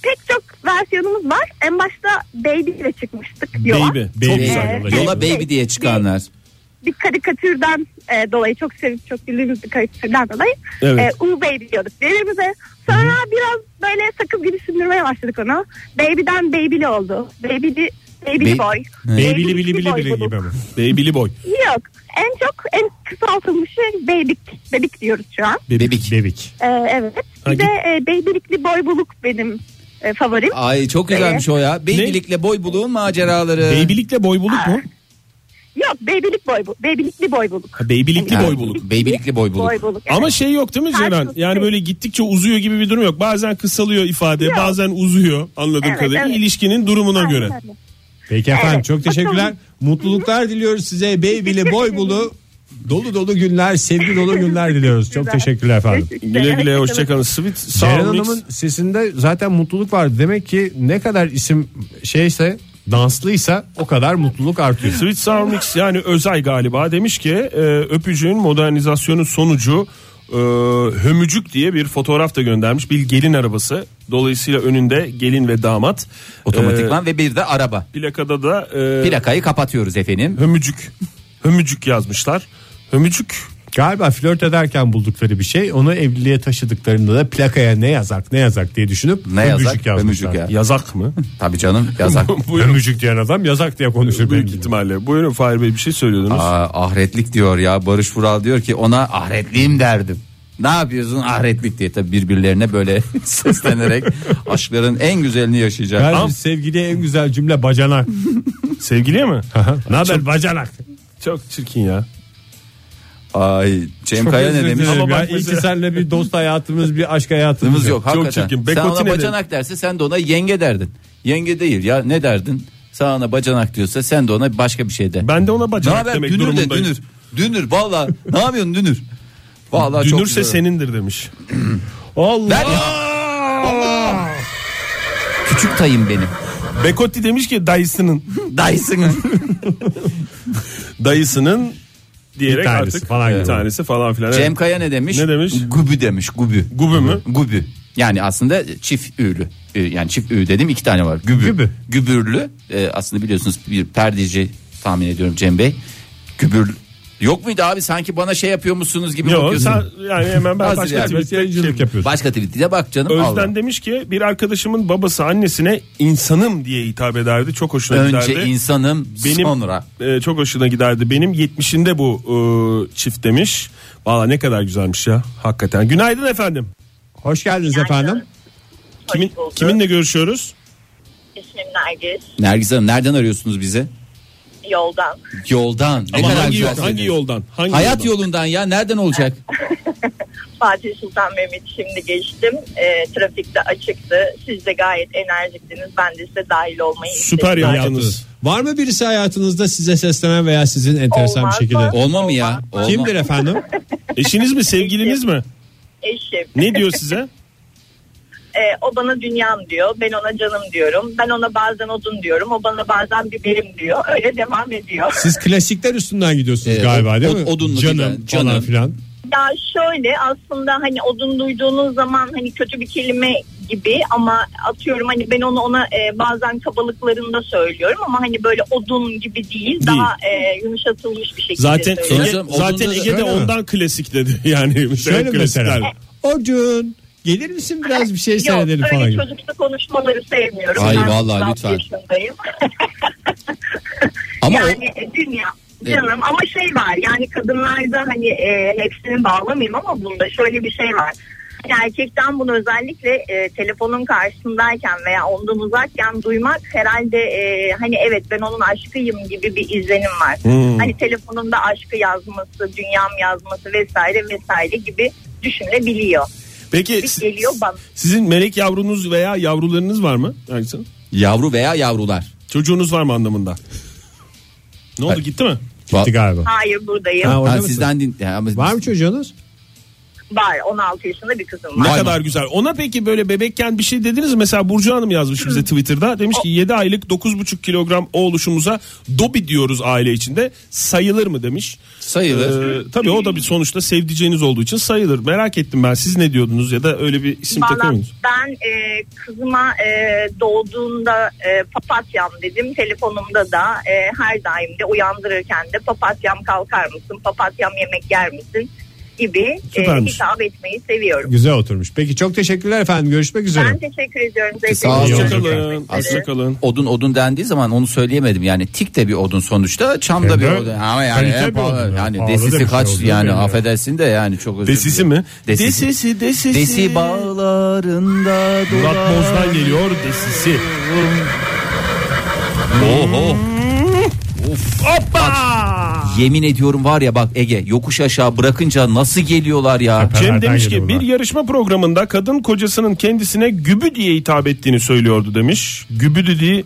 pek çok versiyonumuz var. En başta Baby ile çıkmıştık yola. Baby. Çok Baby. güzel. yola. Ee, Yola baby diye çıkanlar. Bir karikatürden e, dolayı çok sevip çok güldüğümüz bir karikatürden dolayı Evet. e, U Baby diyorduk birbirimize. Sonra biraz böyle sakız gibi sündürmeye başladık onu. Baby'den Baby'li oldu. Baby'li Baby'li Ba- boy. Beybili bili bili boy bili bulduk. gibi mi? Baby'li boy. Yok. En çok en kısaltılmışı bebik. Bebik diyoruz şu an. Bebek. Bebek. Ee, evet. Bir Ha, de e, beybelikli boy buluk benim e, favorim. Ay çok güzelmiş o ya. Babylikle boy buluğun Ee, maceraları. Baby'likle boy buluk Ah. mu? Yok beybelik boy bu- beybelikli boy buluk. Ha, Baby'likli Ha, boy buluk. Babylikli boy buluk. Boy buluk. evet. Ama şey yok değil mi Karşılıklı Ceren? Yani değil. böyle gittikçe uzuyor gibi bir durum yok. Bazen kısalıyor ifade, Yok. bazen uzuyor anladığım Evet, kadarıyla. evet. İlişkinin durumuna Aynen göre. öyle. Peki efendim Evet, çok teşekkürler. [laughs] bakalım. Mutluluklar diliyoruz size. Beybili boy bulu dolu dolu günler, sevgi dolu günler diliyoruz. Çok Güzel. teşekkürler efendim. Güle güle Evet, hoşçakalın. Sweet Ceren Sound Mix. Hanım'ın sesinde zaten mutluluk var. Demek ki ne kadar isim şeyse danslıysa o kadar mutluluk artıyor. Sweet Sour Mix yani Özay galiba demiş ki e, öpücüğün modernizasyonu sonucu e, hömücük diye bir fotoğraf da göndermiş. Bir gelin arabası. Dolayısıyla önünde gelin ve damat. Otomatikman ve bir de araba. E, plakada da e, Plakayı kapatıyoruz efendim. hömücük. hömücük yazmışlar. Hömücük Galiba flört ederken buldukları bir şey. Onu evliliğe taşıdıklarında da plakaya ne yazak ne yazak diye düşünüp Ne yazak? ömücük yazmışlar. Ömücük ya. yazak mı? Tabii canım yazar. Buyurun. Ömücük diyen adam yazak diye konuşur. benim Büyük gibi. ihtimalle. Buyurun Fahir Bey bir şey söylüyordunuz. Aa, ahretlik diyor ya Barış Vural diyor ki ona ahretliyim derdim. Ne yapıyorsun ahretlik diye tabii birbirlerine böyle [laughs] seslenerek aşkların en güzelini yaşayacak. Galiba sevgiliye en güzel cümle bacanak. Sevgiliye mi? ne haber bacanak? Çok çirkin ya. Ay Cem Kaya ne demiş? Ama bak bak İyi ki mesela- seninle bir dost hayatımız bir aşk hayatımız Hakkımız yok hakikaten. çirkin. Sen Bekoti ona ne bacanak derse sen de ona yenge derdin. Yenge değil ya ne derdin? Sen ona bacanak diyorsa sen de ona başka bir şey de. Ben de ona ne bacanak haber demek dünür de durumundayım. dünür. Dünür valla ne yapıyorsun dünür? Valla çok Dünürse güzel. senindir [clears throat] demiş. Allah. Ver ya. Küçük tayım benim. Bekotti demiş ki dayısının Dayısının. dayısının diyerek Bir tanesi artık falan bir gibi. tanesi falan filan. Cem Evet. Kaya ne demiş? Ne demiş? Gubi demiş gubi. Gubi mi? Gubi. Yani aslında çift ürlü. Ee, Yani çift ü dedim iki tane var. Gübü. Gübü. Gübürlü. Ee, aslında biliyorsunuz bir perdeci tahmin ediyorum Cem Bey. Gübür. Yok muydu abi sanki bana şey yapıyor musunuz gibi Yok bakıyorsun. sen yani hemen ben Hazır başka yani. tweet'e şey Yayıncılık yapıyorsun. Başka tweetine bak canım. Özden Allah. demiş ki bir arkadaşımın babası annesine insanım diye hitap ederdi. Çok hoşuna Önce giderdi. insanım Benim sonra. e, çok hoşuna giderdi. Benim 70'inde bu e, çift demiş. Valla ne kadar güzelmiş ya hakikaten. Günaydın efendim. Hoş geldiniz efendim. Kimin, bulduk. kiminle görüşüyoruz? İsmim Nergis. Nergis Hanım nereden arıyorsunuz bizi? yoldan. Yoldan. Ne Ama kadar hangi, güzel yol- hangi söyledin. yoldan? Hangi Hayat yoldan? yolundan ya nereden olacak? Fatih Sultan Mehmet şimdi geçtim. Ee, trafikte açıktı. Siz de gayet enerjiktiniz. Ben de size dahil olmayı Süper istedim. yaptınız. Var mı birisi hayatınızda size seslenen veya sizin enteresan Olmaz bir şekilde? mı? Olma mı ya? Olma. Kimdir efendim? Eşiniz mi sevgiliniz mi? Eşim. Ne diyor size? Ee, o bana dünyam diyor. Ben ona canım diyorum. Ben ona bazen odun diyorum. O bana bazen biberim diyor. [laughs] Öyle devam ediyor. Siz klasikler üstünden gidiyorsunuz Ee, galiba o- değil o- mi? odunlu canım, filan, falan canım. filan. Ya şöyle aslında hani odun duyduğunuz zaman hani kötü bir kelime gibi ama atıyorum hani ben onu ona e, bazen kabalıklarında söylüyorum ama hani böyle odun gibi değil, daha e, yumuşatılmış bir şekilde Zaten söylüyorum. Sonuçta Ege, odunda zaten da- Ege de Öyle mi? ondan klasik dedi. [laughs] Yani Şöyle hep klasikler. mesela. Odun gelir misin biraz bir şey seyredelim Yok falan öyle gibi. çocuksu konuşmaları sevmiyorum. Ay, Ben vallahi 36 lütfen. yaşındayım. Ama o- yani e, dünya canım ama şey var yani kadınlarda hani e, hepsini bağlamayayım ama bunda şöyle bir şey var. Erkekten bunu özellikle e, telefonun karşısındayken veya ondan uzakken duymak herhalde e, hani evet ben onun aşkıyım gibi bir izlenim var. Hmm. Hani telefonunda aşkı yazması, dünyam yazması vesaire vesaire gibi düşünebiliyor. Peki Bir geliyor bana. sizin melek yavrunuz veya yavrularınız var mı? Hangisi? Yavru veya yavrular. Çocuğunuz var mı anlamında? Ne oldu gitti mi? Gitti galiba. Hayır buradayım. Ha, orada Ha, mısın? sizden din... ya, ama- Var mı çocuğunuz? Var 16 yaşında bir kızım Ne var. Vay be. kadar güzel. Ona peki böyle bebekken bir şey dediniz mi? Mesela Burcu Hanım yazmış bize Twitter'da. Demiş ki 7 aylık 9,5 kilogram o oluşumuza dobi diyoruz aile içinde. Sayılır mı demiş. Sayılır. Ee, tabii o da bir sonuçta sevdiceğiniz olduğu için sayılır. Merak ettim ben siz ne diyordunuz ya da öyle bir isim takıyor Valla muydunuz? ben e, kızıma e, doğduğunda e, papatyam dedim. Telefonumda da e, her daim de uyandırırken de papatyam kalkar mısın, papatyam yemek yer misin gibi e, Süpermiş. hitap etmeyi seviyorum. Güzel oturmuş. Peki çok teşekkürler efendim. Görüşmek üzere. Ben teşekkür ediyorum. Sağ olun. Zevkli Hoşça bir Hoşçakalın. sohbet. kalın. Hoşça kalın. Odun odun dendiği zaman onu söyleyemedim yani tik de bir odun sonuçta çam da Evet. bir odun ama yani Kalite bir yani, odun. Pahalı da bir şey desisi kaç oldu. yani Bilmiyorum. affedersin de yani çok özür Desisi dilerim. mi? Desisi. Desisi desisi. Desi bağlarında Murat dolar. Boz'dan geliyor desisi. Oho. Yemin ediyorum var ya bak Ege yokuş aşağı bırakınca nasıl geliyorlar ya. Cem Nereden demiş geliyor ki bunlar? bir yarışma programında kadın kocasının kendisine gübü diye hitap ettiğini söylüyordu demiş. Gübü dediği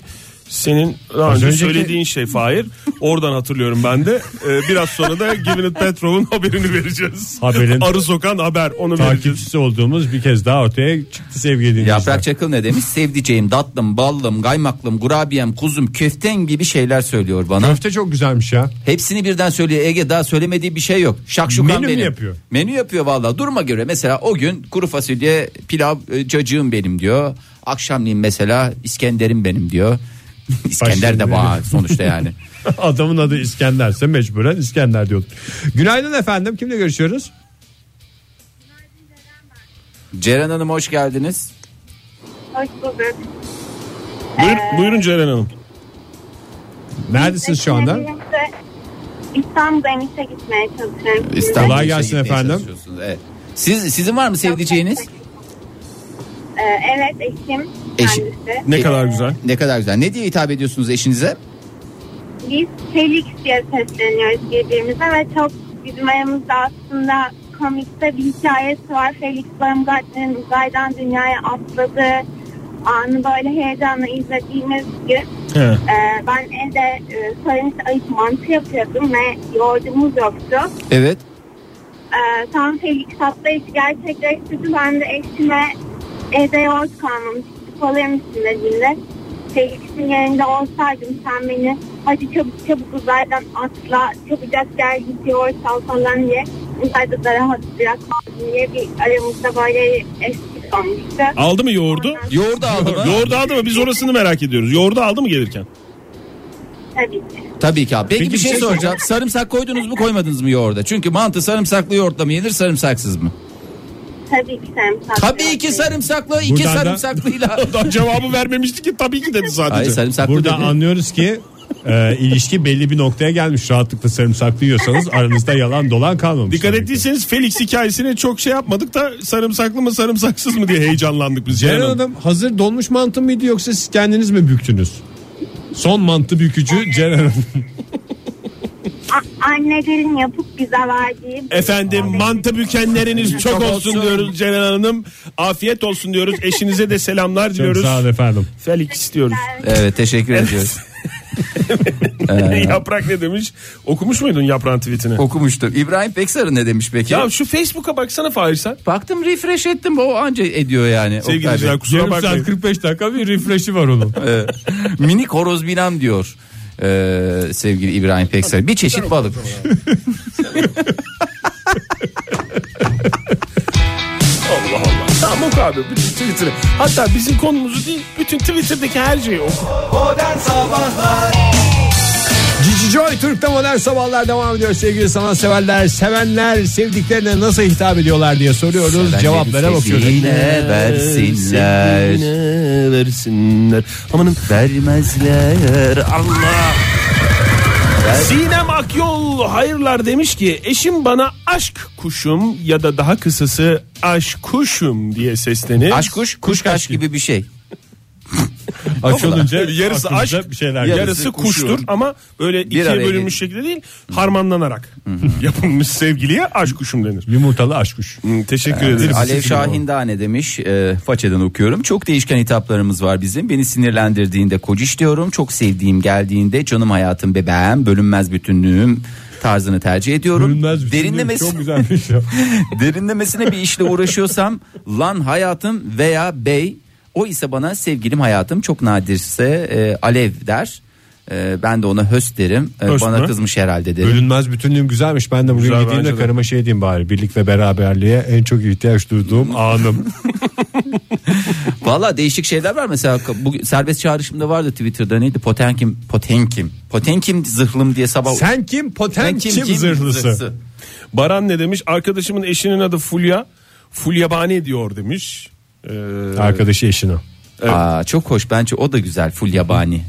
senin daha önce önceki- söylediğin şey Fahir. Oradan hatırlıyorum ben de. Ee, biraz sonra da Gwyneth Petrov'un [laughs] haberini vereceğiz. Haberin- Arı sokan haber onu vereceğiz. Takipçisi olduğumuz bir kez daha ortaya çıktı sevgili dinleyiciler. Yaprak Çakıl ne demiş? Sevdiceğim, tatlım, ballım, kaymaklım, kurabiyem, kuzum, köften gibi şeyler söylüyor bana. Köfte çok güzelmiş ya. Hepsini birden söylüyor. Ege daha söylemediği bir şey yok. Şakşukan Menü mü benim. yapıyor? Menü yapıyor valla. Duruma göre mesela o gün kuru fasulye, pilav, e, cacığım benim diyor. Akşamleyin mesela İskender'im [laughs] benim diyor. İskender de Başlayayım. bağ [laughs] sonuçta yani. Adamın adı İskender'se mecburen İskender diyordum. Günaydın efendim. Kimle görüşüyoruz? Ceren Hanım hoş geldiniz. Hoş bulduk. Buyur- buyurun Ceren Hanım. Neredesiniz şu anda? İstanbul'dan işe gitmeye çalışıyorum. İstanbul'a Kolay işe gelsin gitmeye efendim. çalışıyorsunuz, Evet. Siz, sizin var mı sevdiceğiniz? Ee, evet eşim Eşi- Ne E- kadar güzel. Ne kadar güzel. Ne diye hitap ediyorsunuz eşinize? Biz Felix diye sesleniyoruz birbirimize ve çok bizim aramızda aslında komikte bir hikayesi var. Felix Baumgartner'ın uzaydan dünyaya atladığı anı böyle heyecanla izlediğimiz gün He. e, ben evde e, söylemiş ayıp mantı yapıyordum ve yoğurdumuz yoktu. Evet. E, tam Felix atlayışı gerçekleştirdi. Ben de eşime evde yoğurt kalmamış. Kolayım misin dediğimde Felix'in yerinde olsaydım sen beni hadi çabuk çabuk uzaydan atla çabucak gel git yoğurt al falan diye uzayda da rahat bırak diye bir aramızda böyle eski olmuştu. Aldı mı yoğurdu? Yoğurdu aldı mı? Yoğurdu aldı mı? Biz orasını merak ediyoruz. Yoğurdu aldı mı gelirken? Tabii ki. Tabii ki abi. Peki, Peki bir bir şey şey soracağım. sarımsak koydunuz mu koymadınız mı yoğurda? Çünkü mantı sarımsaklı yoğurtla mı yenir sarımsaksız mı? Tabii ki sen Tabii ki sarımsaklı iki Buradan da- sarımsaklıyla. Daha cevabı vermemişti ki tabii ki dedi sadece. Hayır sarımsaklı Burada dedi. anlıyoruz ki e, ilişki belli bir noktaya gelmiş. Rahatlıkla sarımsaklı yiyorsanız aranızda yalan dolan kalmamış. Dikkat Demek ki. ettiyseniz Felix hikayesine çok şey yapmadık da sarımsaklı mı sarımsaksız mı diye heyecanlandık biz. Ceren Ceren Hanım. Hanım hazır donmuş mantı mıydı yoksa siz kendiniz mi büktünüz? Son mantı bükücü Ceren Hanım. a- annelerin yapıp bize verdiği Efendim mantı bükenleriniz çok olsun diyoruz Ceren Hanım. Afiyet olsun diyoruz. Eşinize de selamlar Çok diyoruz. sağ olun efendim. Felix istiyoruz. Evet teşekkür ediyoruz. Yaprak [laughs] ne demiş? Okumuş muydun yaprağın tweetini? Okumuştum. İbrahim Peksar'ın ne demiş peki? ya şu Facebook'a baksana Fahir sen. Baktım refresh ettim o anca ediyor yani. Oktay Sevgili Bey. dinleyiciler, kusura Yarım saat bakmayın. 45 dakika bir refresh'i var onun. Ee, minik horoz binam diyor. ee, sevgili İbrahim Peksar. Bir çeşit balık. Allah Allah. Tamam oku abi bütün Twitter'ı. Hatta bizim konumuzu değil bütün Twitter'daki her şeyi oku. Modern Sabahlar Cici Joy Türk'te modern sabahlar devam ediyor sevgili sanatseverler. Sevenler sevdiklerine nasıl hitap ediyorlar diye soruyoruz. Cevaplara bakıyoruz. Sevgiline versinler. Sevgiline versinler. Amanın Vermezler. Allah. Sinem Akyol hayırlar demiş ki eşim bana aşk kuşum ya da daha kısası aşk kuşum diye seslenir. Aşk kuş, kuş kaş gibi bir şey. Aç olunca yarısı aklımıza aşk, bir şeyler yarısı, geliyor. kuştur kuşu. ama böyle ikiye araya bölünmüş şekilde değil, harmanlanarak [laughs] yapılmış sevgiliye aşk kuşum denir. Yumurtalı aşk kuş. Hı, teşekkür ederim. Alev Şahindane demiş. E, façeden okuyorum. Çok değişken hitaplarımız var bizim. Beni sinirlendirdiğinde kociş diyorum. Çok sevdiğim geldiğinde canım hayatım bebeğim. Bölünmez bütünlüğüm tarzını tercih ediyorum. Görünmez bir şey. Derinlemesi- Çok güzelmiş [laughs] ya. [laughs] Derinlemesine bir işle uğraşıyorsam lan hayatım veya bey o ise bana sevgilim hayatım çok nadirse e, alev der. E, ben de ona höst derim. E, Höst bana mü? kızmış herhalde derim. Bölünmez bütünlüğüm güzelmiş. Ben de bugün Güzel, gideyim de bence de. karıma şey diyeyim bari. Birlik ve beraberliğe en çok ihtiyaç [laughs] duyduğum anım. Valla değişik şeyler var mesela bu serbest çağrışımda vardı Twitter'da neydi Potenkim Potenkim Potenkim zırhlım diye sabah Sen kim? Potem kim, zırhlısı? Baran ne demiş? Arkadaşımın eşinin adı Fulya. Fulyabani diyor demiş. Ee, Arkadaşı eşine. Aa, çok hoş bence o da güzel full yabani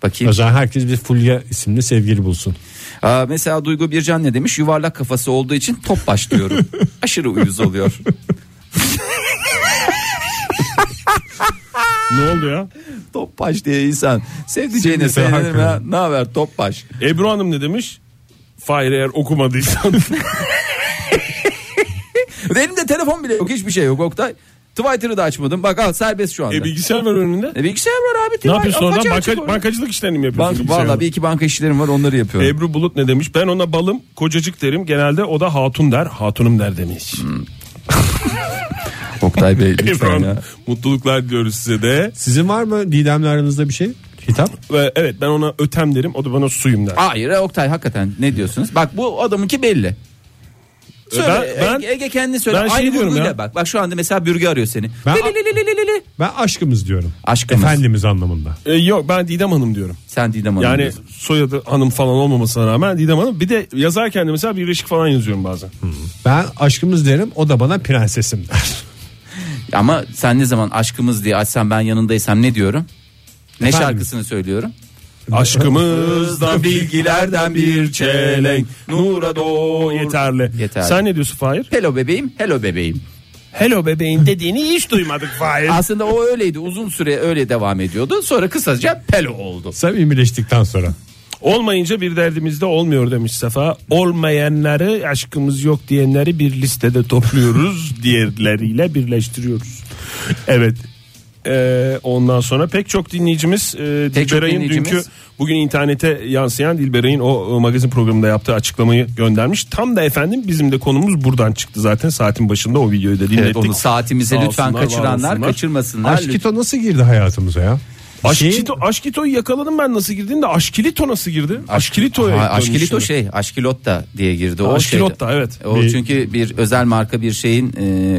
O Bakayım. zaman herkes bir Fulya isimli sevgili bulsun. Aa, mesela Duygu Bircan ne demiş? Yuvarlak kafası olduğu için [laughs] top başlıyorum. Aşırı uyuz oluyor. ne oldu ya? Topbaş diye insan sevdiceğine Sinirli söylenir mi? hakikaten. ha? Ne haber Topbaş? Ebru Hanım ne demiş? Fahir eğer [laughs] okumadıysan Elimde telefon bile yok hiçbir şey yok Oktay. Twitter'ı da açmadım. Bak al serbest şu [laughs] anda. e, bilgisayar var önünde. E, bilgisayar var abi. Ne Twitter- yapıyorsun oradan? Apaçı Banka- açık orada. bankacılık işlerini mi yapıyorsun? şey Bank, bilgisayarda? valla bir iki banka işlerim var onları yapıyorum. Ebru Bulut ne demiş? Ben ona balım, kocacık derim. Genelde o da hatun der, hatunum der demiş. Oktay Bey Ebru lütfen ya. Hanım, mutluluklar diliyoruz size de. Sizin var mı Didem'le aranızda bir şey? Hitap? Ve evet ben ona ötem derim, o da bana suyum der. Hayır e, Oktay hakikaten ne diyorsunuz? Bak bu adamınki belli. Söyle, E, ben- Ege, Ege kendi söyle. ben şey Aynı diyorum vurguyla ya. Bak, bak şu anda mesela Bürge arıyor seni. Ben- Lelelelelelele. Ben aşkımız diyorum. Aşkımız. Efendimiz anlamında. E, yok ben Didem Hanım diyorum. Sen Didem Hanım Yani diyorsun. soyadı hanım falan olmamasına rağmen Didem Hanım. Bir de yazarken de mesela birleşik falan yazıyorum bazen. Ben aşkımız derim o da bana prensesim der. [laughs] Ama sen ne zaman aşkımız diye açsam ben yanındaysam ne diyorum? Ne Efendim? şarkısını söylüyorum? Aşkımızdan bilgilerden bir çelenk nura doğ [laughs] yeterli. Yeterli. Sen ne diyorsun Fahir? Hello bebeğim, hello bebeğim. Hello bebeğim dediğini hiç duymadık Fahir. Aslında o öyleydi. Uzun süre öyle devam ediyordu. Sonra kısaca pelo oldu. Samimileştikten sonra. Olmayınca bir derdimiz de olmuyor demiş Sefa. Olmayanları aşkımız yok diyenleri bir listede [laughs] topluyoruz. diğerleriyle birleştiriyoruz. Evet. Ee, ondan sonra pek çok dinleyicimiz e, Pek çok Dilberay'ın dinleyicimiz- dünkü bugün internete yansıyan Dilberay'ın o, e, magazin programında yaptığı açıklamayı göndermiş. Tam da efendim bizim de konumuz buradan çıktı zaten saatin başında o videoyu da dinlettik. Evet, onu saatimize Sağ lütfen olsunlar, var kaçıranlar olsunlar. kaçırmasınlar. Lütfen. Aşkito nasıl girdi hayatımıza ya? Şey, Şey- Aşkito, Aşkito'yu yakaladım ben nasıl girdiğinde Aşkilito nasıl girdi? Aşkilito'ya Ha, dönmüş Aşkilito şimdi. şey, Aşkilotta diye girdi. O Aşkilotta, şeydi. evet. O çünkü bir özel marka bir şeyin,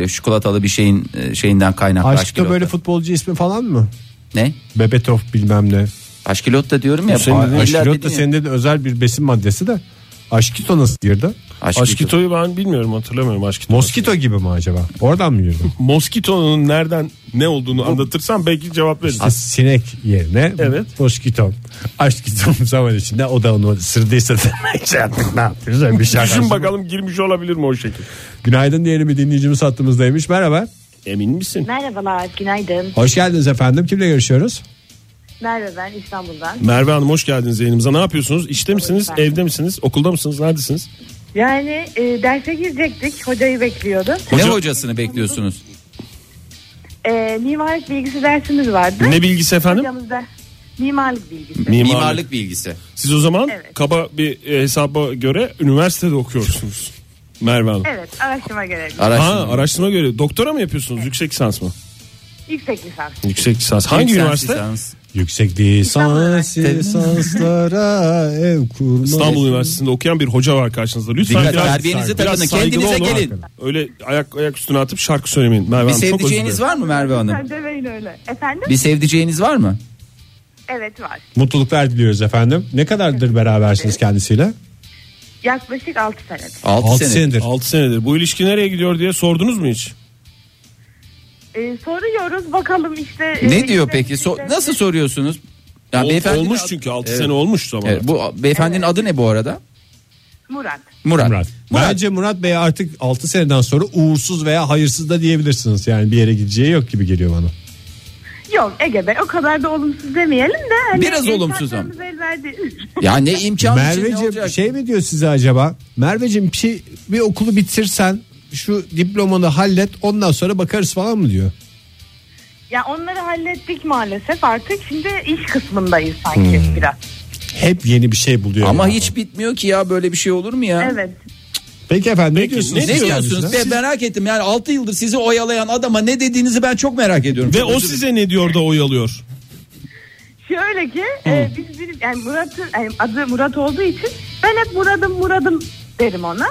e, çikolatalı bir şeyin e, şeyinden kaynaklı. Aşkito böyle futbolcu ismi falan mı? Ne? Bebetov bilmem ne. Aşkilotta diyorum ya. Senin dediğin- illa Aşkilot dedin da ya. senin de özel bir besin maddesi de. Aşkito nasıl girdi? Aşkilito. Aşkito'yu ben bilmiyorum hatırlamıyorum Aşkito. Moskito gibi mi acaba? Oradan [laughs] mı girdi? Moskito'nun nereden ne olduğunu anlatırsam belki cevap veririm. İşte sinek yerine Evet. moskito. Aşkito [laughs] zaman içinde o da onu ısırdıysa da [laughs] şey yaptık ne yapıyoruz? öyle Bir şey Düşün yaparsın. bakalım girmiş olabilir mi o şekil? Günaydın diyelim bir dinleyicimiz hattımızdaymış. Merhaba. Emin misin? Merhabalar günaydın. Hoş geldiniz efendim. Kimle görüşüyoruz? Merve ben İstanbul'dan. Merve Hanım hoş geldiniz yayınımıza. Ne yapıyorsunuz? İşte misiniz? Evde misiniz? Okulda mısınız? Neredesiniz? Yani e, derse girecektik. Hocayı bekliyordum. Ne hocasını bekliyorsunuz? E, mimarlık bilgisi dersimiz vardı. Ne bilgisi efendim? Hocamız da mimarlık bilgisi. Mimarlık bilgisi. Siz o zaman kaba bir e, hesaba göre üniversitede okuyorsunuz. Merve Hanım. Evet araştırma görevi. Ha, araştırma göre. Doktora mı yapıyorsunuz? Yüksek lisans mı? Yüksek lisans. Yüksek lisans. Hangi Yüksek üniversite? Yüksek lisans lisanslara ev kurma. İstanbul Üniversitesi'nde okuyan bir hoca var karşınızda. Lütfen Dikkat, terbiyenizi biraz takının, saygılı kendinize olun. gelin. Öyle ayak ayak üstüne atıp şarkı söylemeyin. Merve Hanım, Bir çok özür sevdiceğiniz dilerim. var mı Merve Hanım? Sen demeyin öyle. Efendim? Bir sevdiceğiniz var mı? Evet var. Mutluluklar diliyoruz efendim. Ne kadardır berabersiniz kendisiyle? Yaklaşık 6 senedir. Altı Altı senedir. 6 senedir. Bu ilişki nereye gidiyor diye sordunuz mu hiç? E, soruyoruz bakalım işte. e, Ne diyor işte- peki? So- nasıl soruyorsunuz? Ol- beyefendinin olmuş ad- çünkü, altı sene olmuş zaman. Evet, bu beyefendinin adı ne bu arada? Murat. Murat. Bence Murat Bey artık 6 seneden sonra uğursuz veya hayırsız da diyebilirsiniz. Yani bir yere gideceği yok gibi geliyor bana. Yok Ege Bey o kadar da olumsuz demeyelim de. Hani Biraz olumsuz ama. imkanlarımız el verdi. [laughs] Ya ne imkan Merveciğim şey mi diyor size acaba? Merveciğim bir şey bir okulu bitirsen şu diplomanı hallet ondan sonra bakarız falan mı diyor? ya onları hallettik maalesef artık. Şimdi iş kısmındayız sanki Hmm. biraz. Hep yeni bir şey buluyor. Ama ya. hiç bitmiyor ki ya böyle bir şey olur mu ya? Evet. Peki efendim ne Ne diyorsunuz? diyorsunuz? Ben merak ettim. Yani 6 yıldır sizi oyalayan adama ne dediğinizi ben çok merak ediyorum. Ve Çok o özür dilerim. size ne diyor da oyalıyor? Şöyle ki e, biz bir yani Murat'ın yani adı Murat olduğu için ben hep Murat'ım Murat'ım derim ona.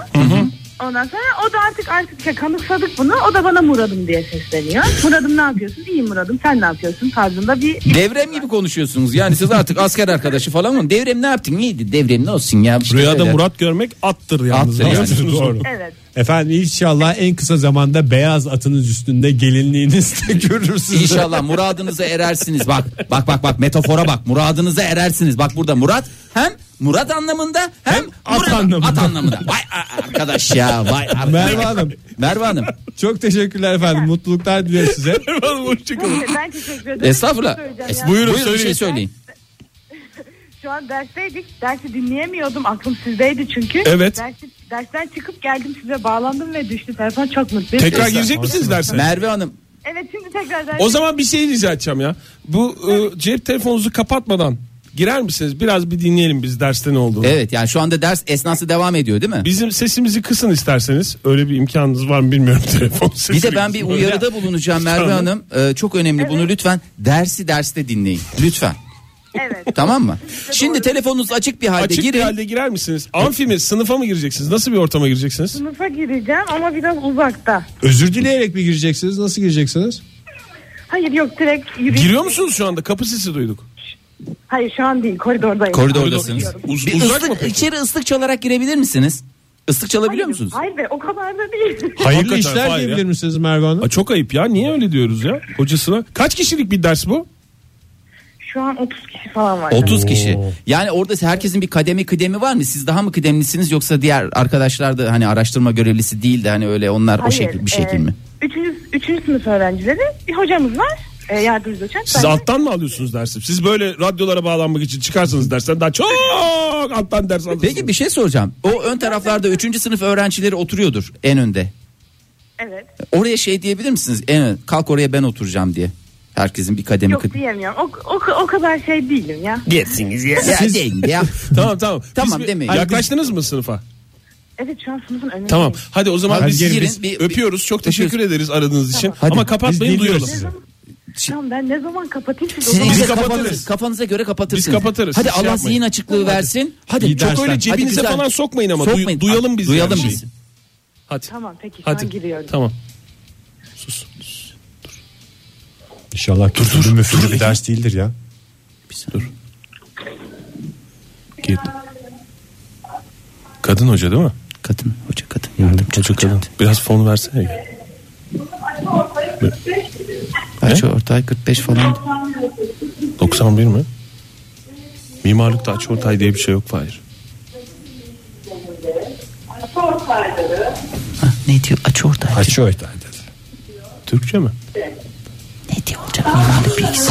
Ondan sonra o da artık artık kanıksadık bunu. O da bana Murat'ım diye sesleniyor. Murat'ım ne yapıyorsun? İyi Murat'ım sen ne yapıyorsun? Tarzında bir Devrem gibi konuşuyorsunuz. Yani siz artık asker arkadaşı falan mı? Devrem ne yaptın? İyiydi. Devrem ne olsun ya? İşte Rüyada böyle. Murat görmek attır yalnız. Attır yani. [laughs] Biliyorsunuz onu. evet. Efendim inşallah en kısa zamanda beyaz atınız üstünde gelinliğinizde görürsünüz. İnşallah muradınıza erersiniz. Bak bak bak bak metafora bak. Muradınıza erersiniz. Bak burada Murat hem Murat anlamında hem, at Murat- anlamında. At anlamında. Vay a- arkadaş ya vay. [laughs] arkadaş. Merve Hanım Merve Hanım. çok teşekkürler efendim. Mutluluklar diliyoruz size. Neyse, ben teşekkür ederim. Estağfurullah. Bir şey söyleyeceğim Es- ya. buyurun bir şey söyleyin. Şu an dersteydik. Dersi dinleyemiyordum. Aklım sizdeydi çünkü. Evet. Dersi, dersten çıkıp geldim size bağlandım ve düştü. Telefon çok mutluyum. Tekrar girecek misiniz derse? Merve Hanım Evet şimdi tekrar O zaman bir şey rica edeceğim ya. Bu e, cep telefonunuzu kapatmadan girer misiniz? Biraz bir dinleyelim biz derste ne olduğunu. evet yani şu anda ders esnası devam ediyor değil mi? Bizim sesimizi kısın isterseniz. Öyle bir imkanınız var mı bilmiyorum [laughs] telefon Bir sesini de ben bir kısın. uyarıda bulunacağım Merve şey. Tamam. Hanım. Ee, çok önemli bunu lütfen dersi derste dinleyin. Lütfen. Evet. Tamam mı? Şimdi telefonunuz açık bir halde Açık girin. bir halde girer misiniz? Amfi mi? Sınıfa mı gireceksiniz? Nasıl bir ortama gireceksiniz? Sınıfa gireceğim ama biraz uzakta. Özür dileyerek mi gireceksiniz? Nasıl gireceksiniz? Hayır yok direkt yürüyüş. Giriyor musunuz şu anda? Kapı sesi duyduk. Hayır şu an değil koridordayım. Koridordasınız. Uz- Bir uzak ıslık- mı? peki? içeri ıslık çalarak girebilir misiniz? Islık çalabiliyor musunuz? Hayır be o kadar da değil. [laughs] Hayırlı Hayırlı işler işler diyebilir diyebilir misiniz Merve Hanım? Aa, çok ayıp ya. Niye öyle diyoruz ya? Hocasına. Kaç kişilik bir ders bu? Şu an 30 kişi falan var. 30 kişi. Yani orada herkesin bir kademi kıdemi var mı? Siz daha mı kıdemlisiniz yoksa diğer arkadaşlar da hani araştırma görevlisi değil de hani öyle onlar o şekil bir şekil mi? e, Üçüncü, üçüncü sınıf öğrencileri bir hocamız var. E, yardımcı doçent. Siz Ben de- alttan mı alıyorsunuz dersi? Siz böyle radyolara bağlanmak için çıkarsanız dersten daha çok alttan ders alırsınız. Peki bir şey soracağım. O ön taraflarda 3. sınıf öğrencileri oturuyordur en önde. Evet. Oraya şey diyebilir misiniz? En ön- kalk oraya ben oturacağım diye. Herkesin bir kademi Yok kıdemi. diyemiyorum. O, o, o kadar şey değilim ya. Ya, değil ya. Tamam tamam. Biz şey- Tamam, bir- demeyin. Yaklaştınız mı sınıfa? Evet şu an sınıfın önündeyim. Tamam. Hadi o zaman Hadi biz, gelin, biz bir- öpüyoruz. Çok öpüyoruz. teşekkür ederiz aradığınız için. Hadi. Ama kapatmayın Biz dinliyoruz duyuyoruz. sizi. Tamam ben ne zaman kapatayım siz o Sizin zaman- Biz işte kapatırız. kafanız- Kafanıza göre kapatırsınız. Biz kapatırız, Hadi hiç şey Allah yapmayın. zihin açıklığı versin. Hadi Çok dersler. öyle Hadi cebinize güzel. falan sokmayın ama. Duy- Sokmayın. duyalım biz Duyalım yani biz. şeyi. Hadi. Tamam peki şu Hadi. an giriyorum. Tamam. İnşallah dur dur, bir ders değildir ya. Gir. Kadın hoca değil mi? Kadın hoca kadın yardımcı Hoca kadın. Biraz fon versene. Kaç ortay 45 falan. 91 mi? Mimarlıkta açıortay diye bir şey yok Fahir. Ne diyor aç ortay. Kaç öğretmen dedi. Türkçe mi? Ne diyor olacak mimarlık bilgisi.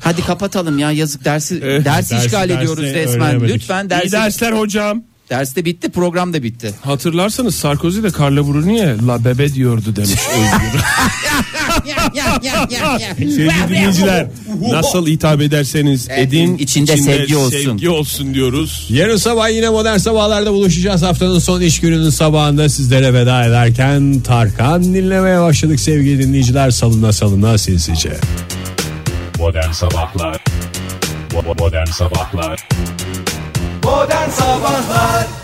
Hadi kapatalım ya yazık dersi dersi Eh, dersi- işgal dersi ediyoruz resmen. öğrenemedik. Lütfen İyi dersi. dersler hocam. Ders de bitti program [laughs] da bitti. Hatırlarsanız Sarkozy de Carla Bruni'ye la bebe diyordu [laughs] demiş. Sevgili dinleyiciler nasıl hitap ederseniz edin Ee, içinde sevgi olsun. sevgi olsun diyoruz. Yarın sabah yine modern sabahlarda buluşacağız. Haftanın son iş gününün sabahında sizlere veda ederken Tarkan dinlemeye başladık sevgili dinleyiciler. Salına salına sinsice. Modern Sabahlar Bo- bo- Modern Sabahlar Modern Sabahlar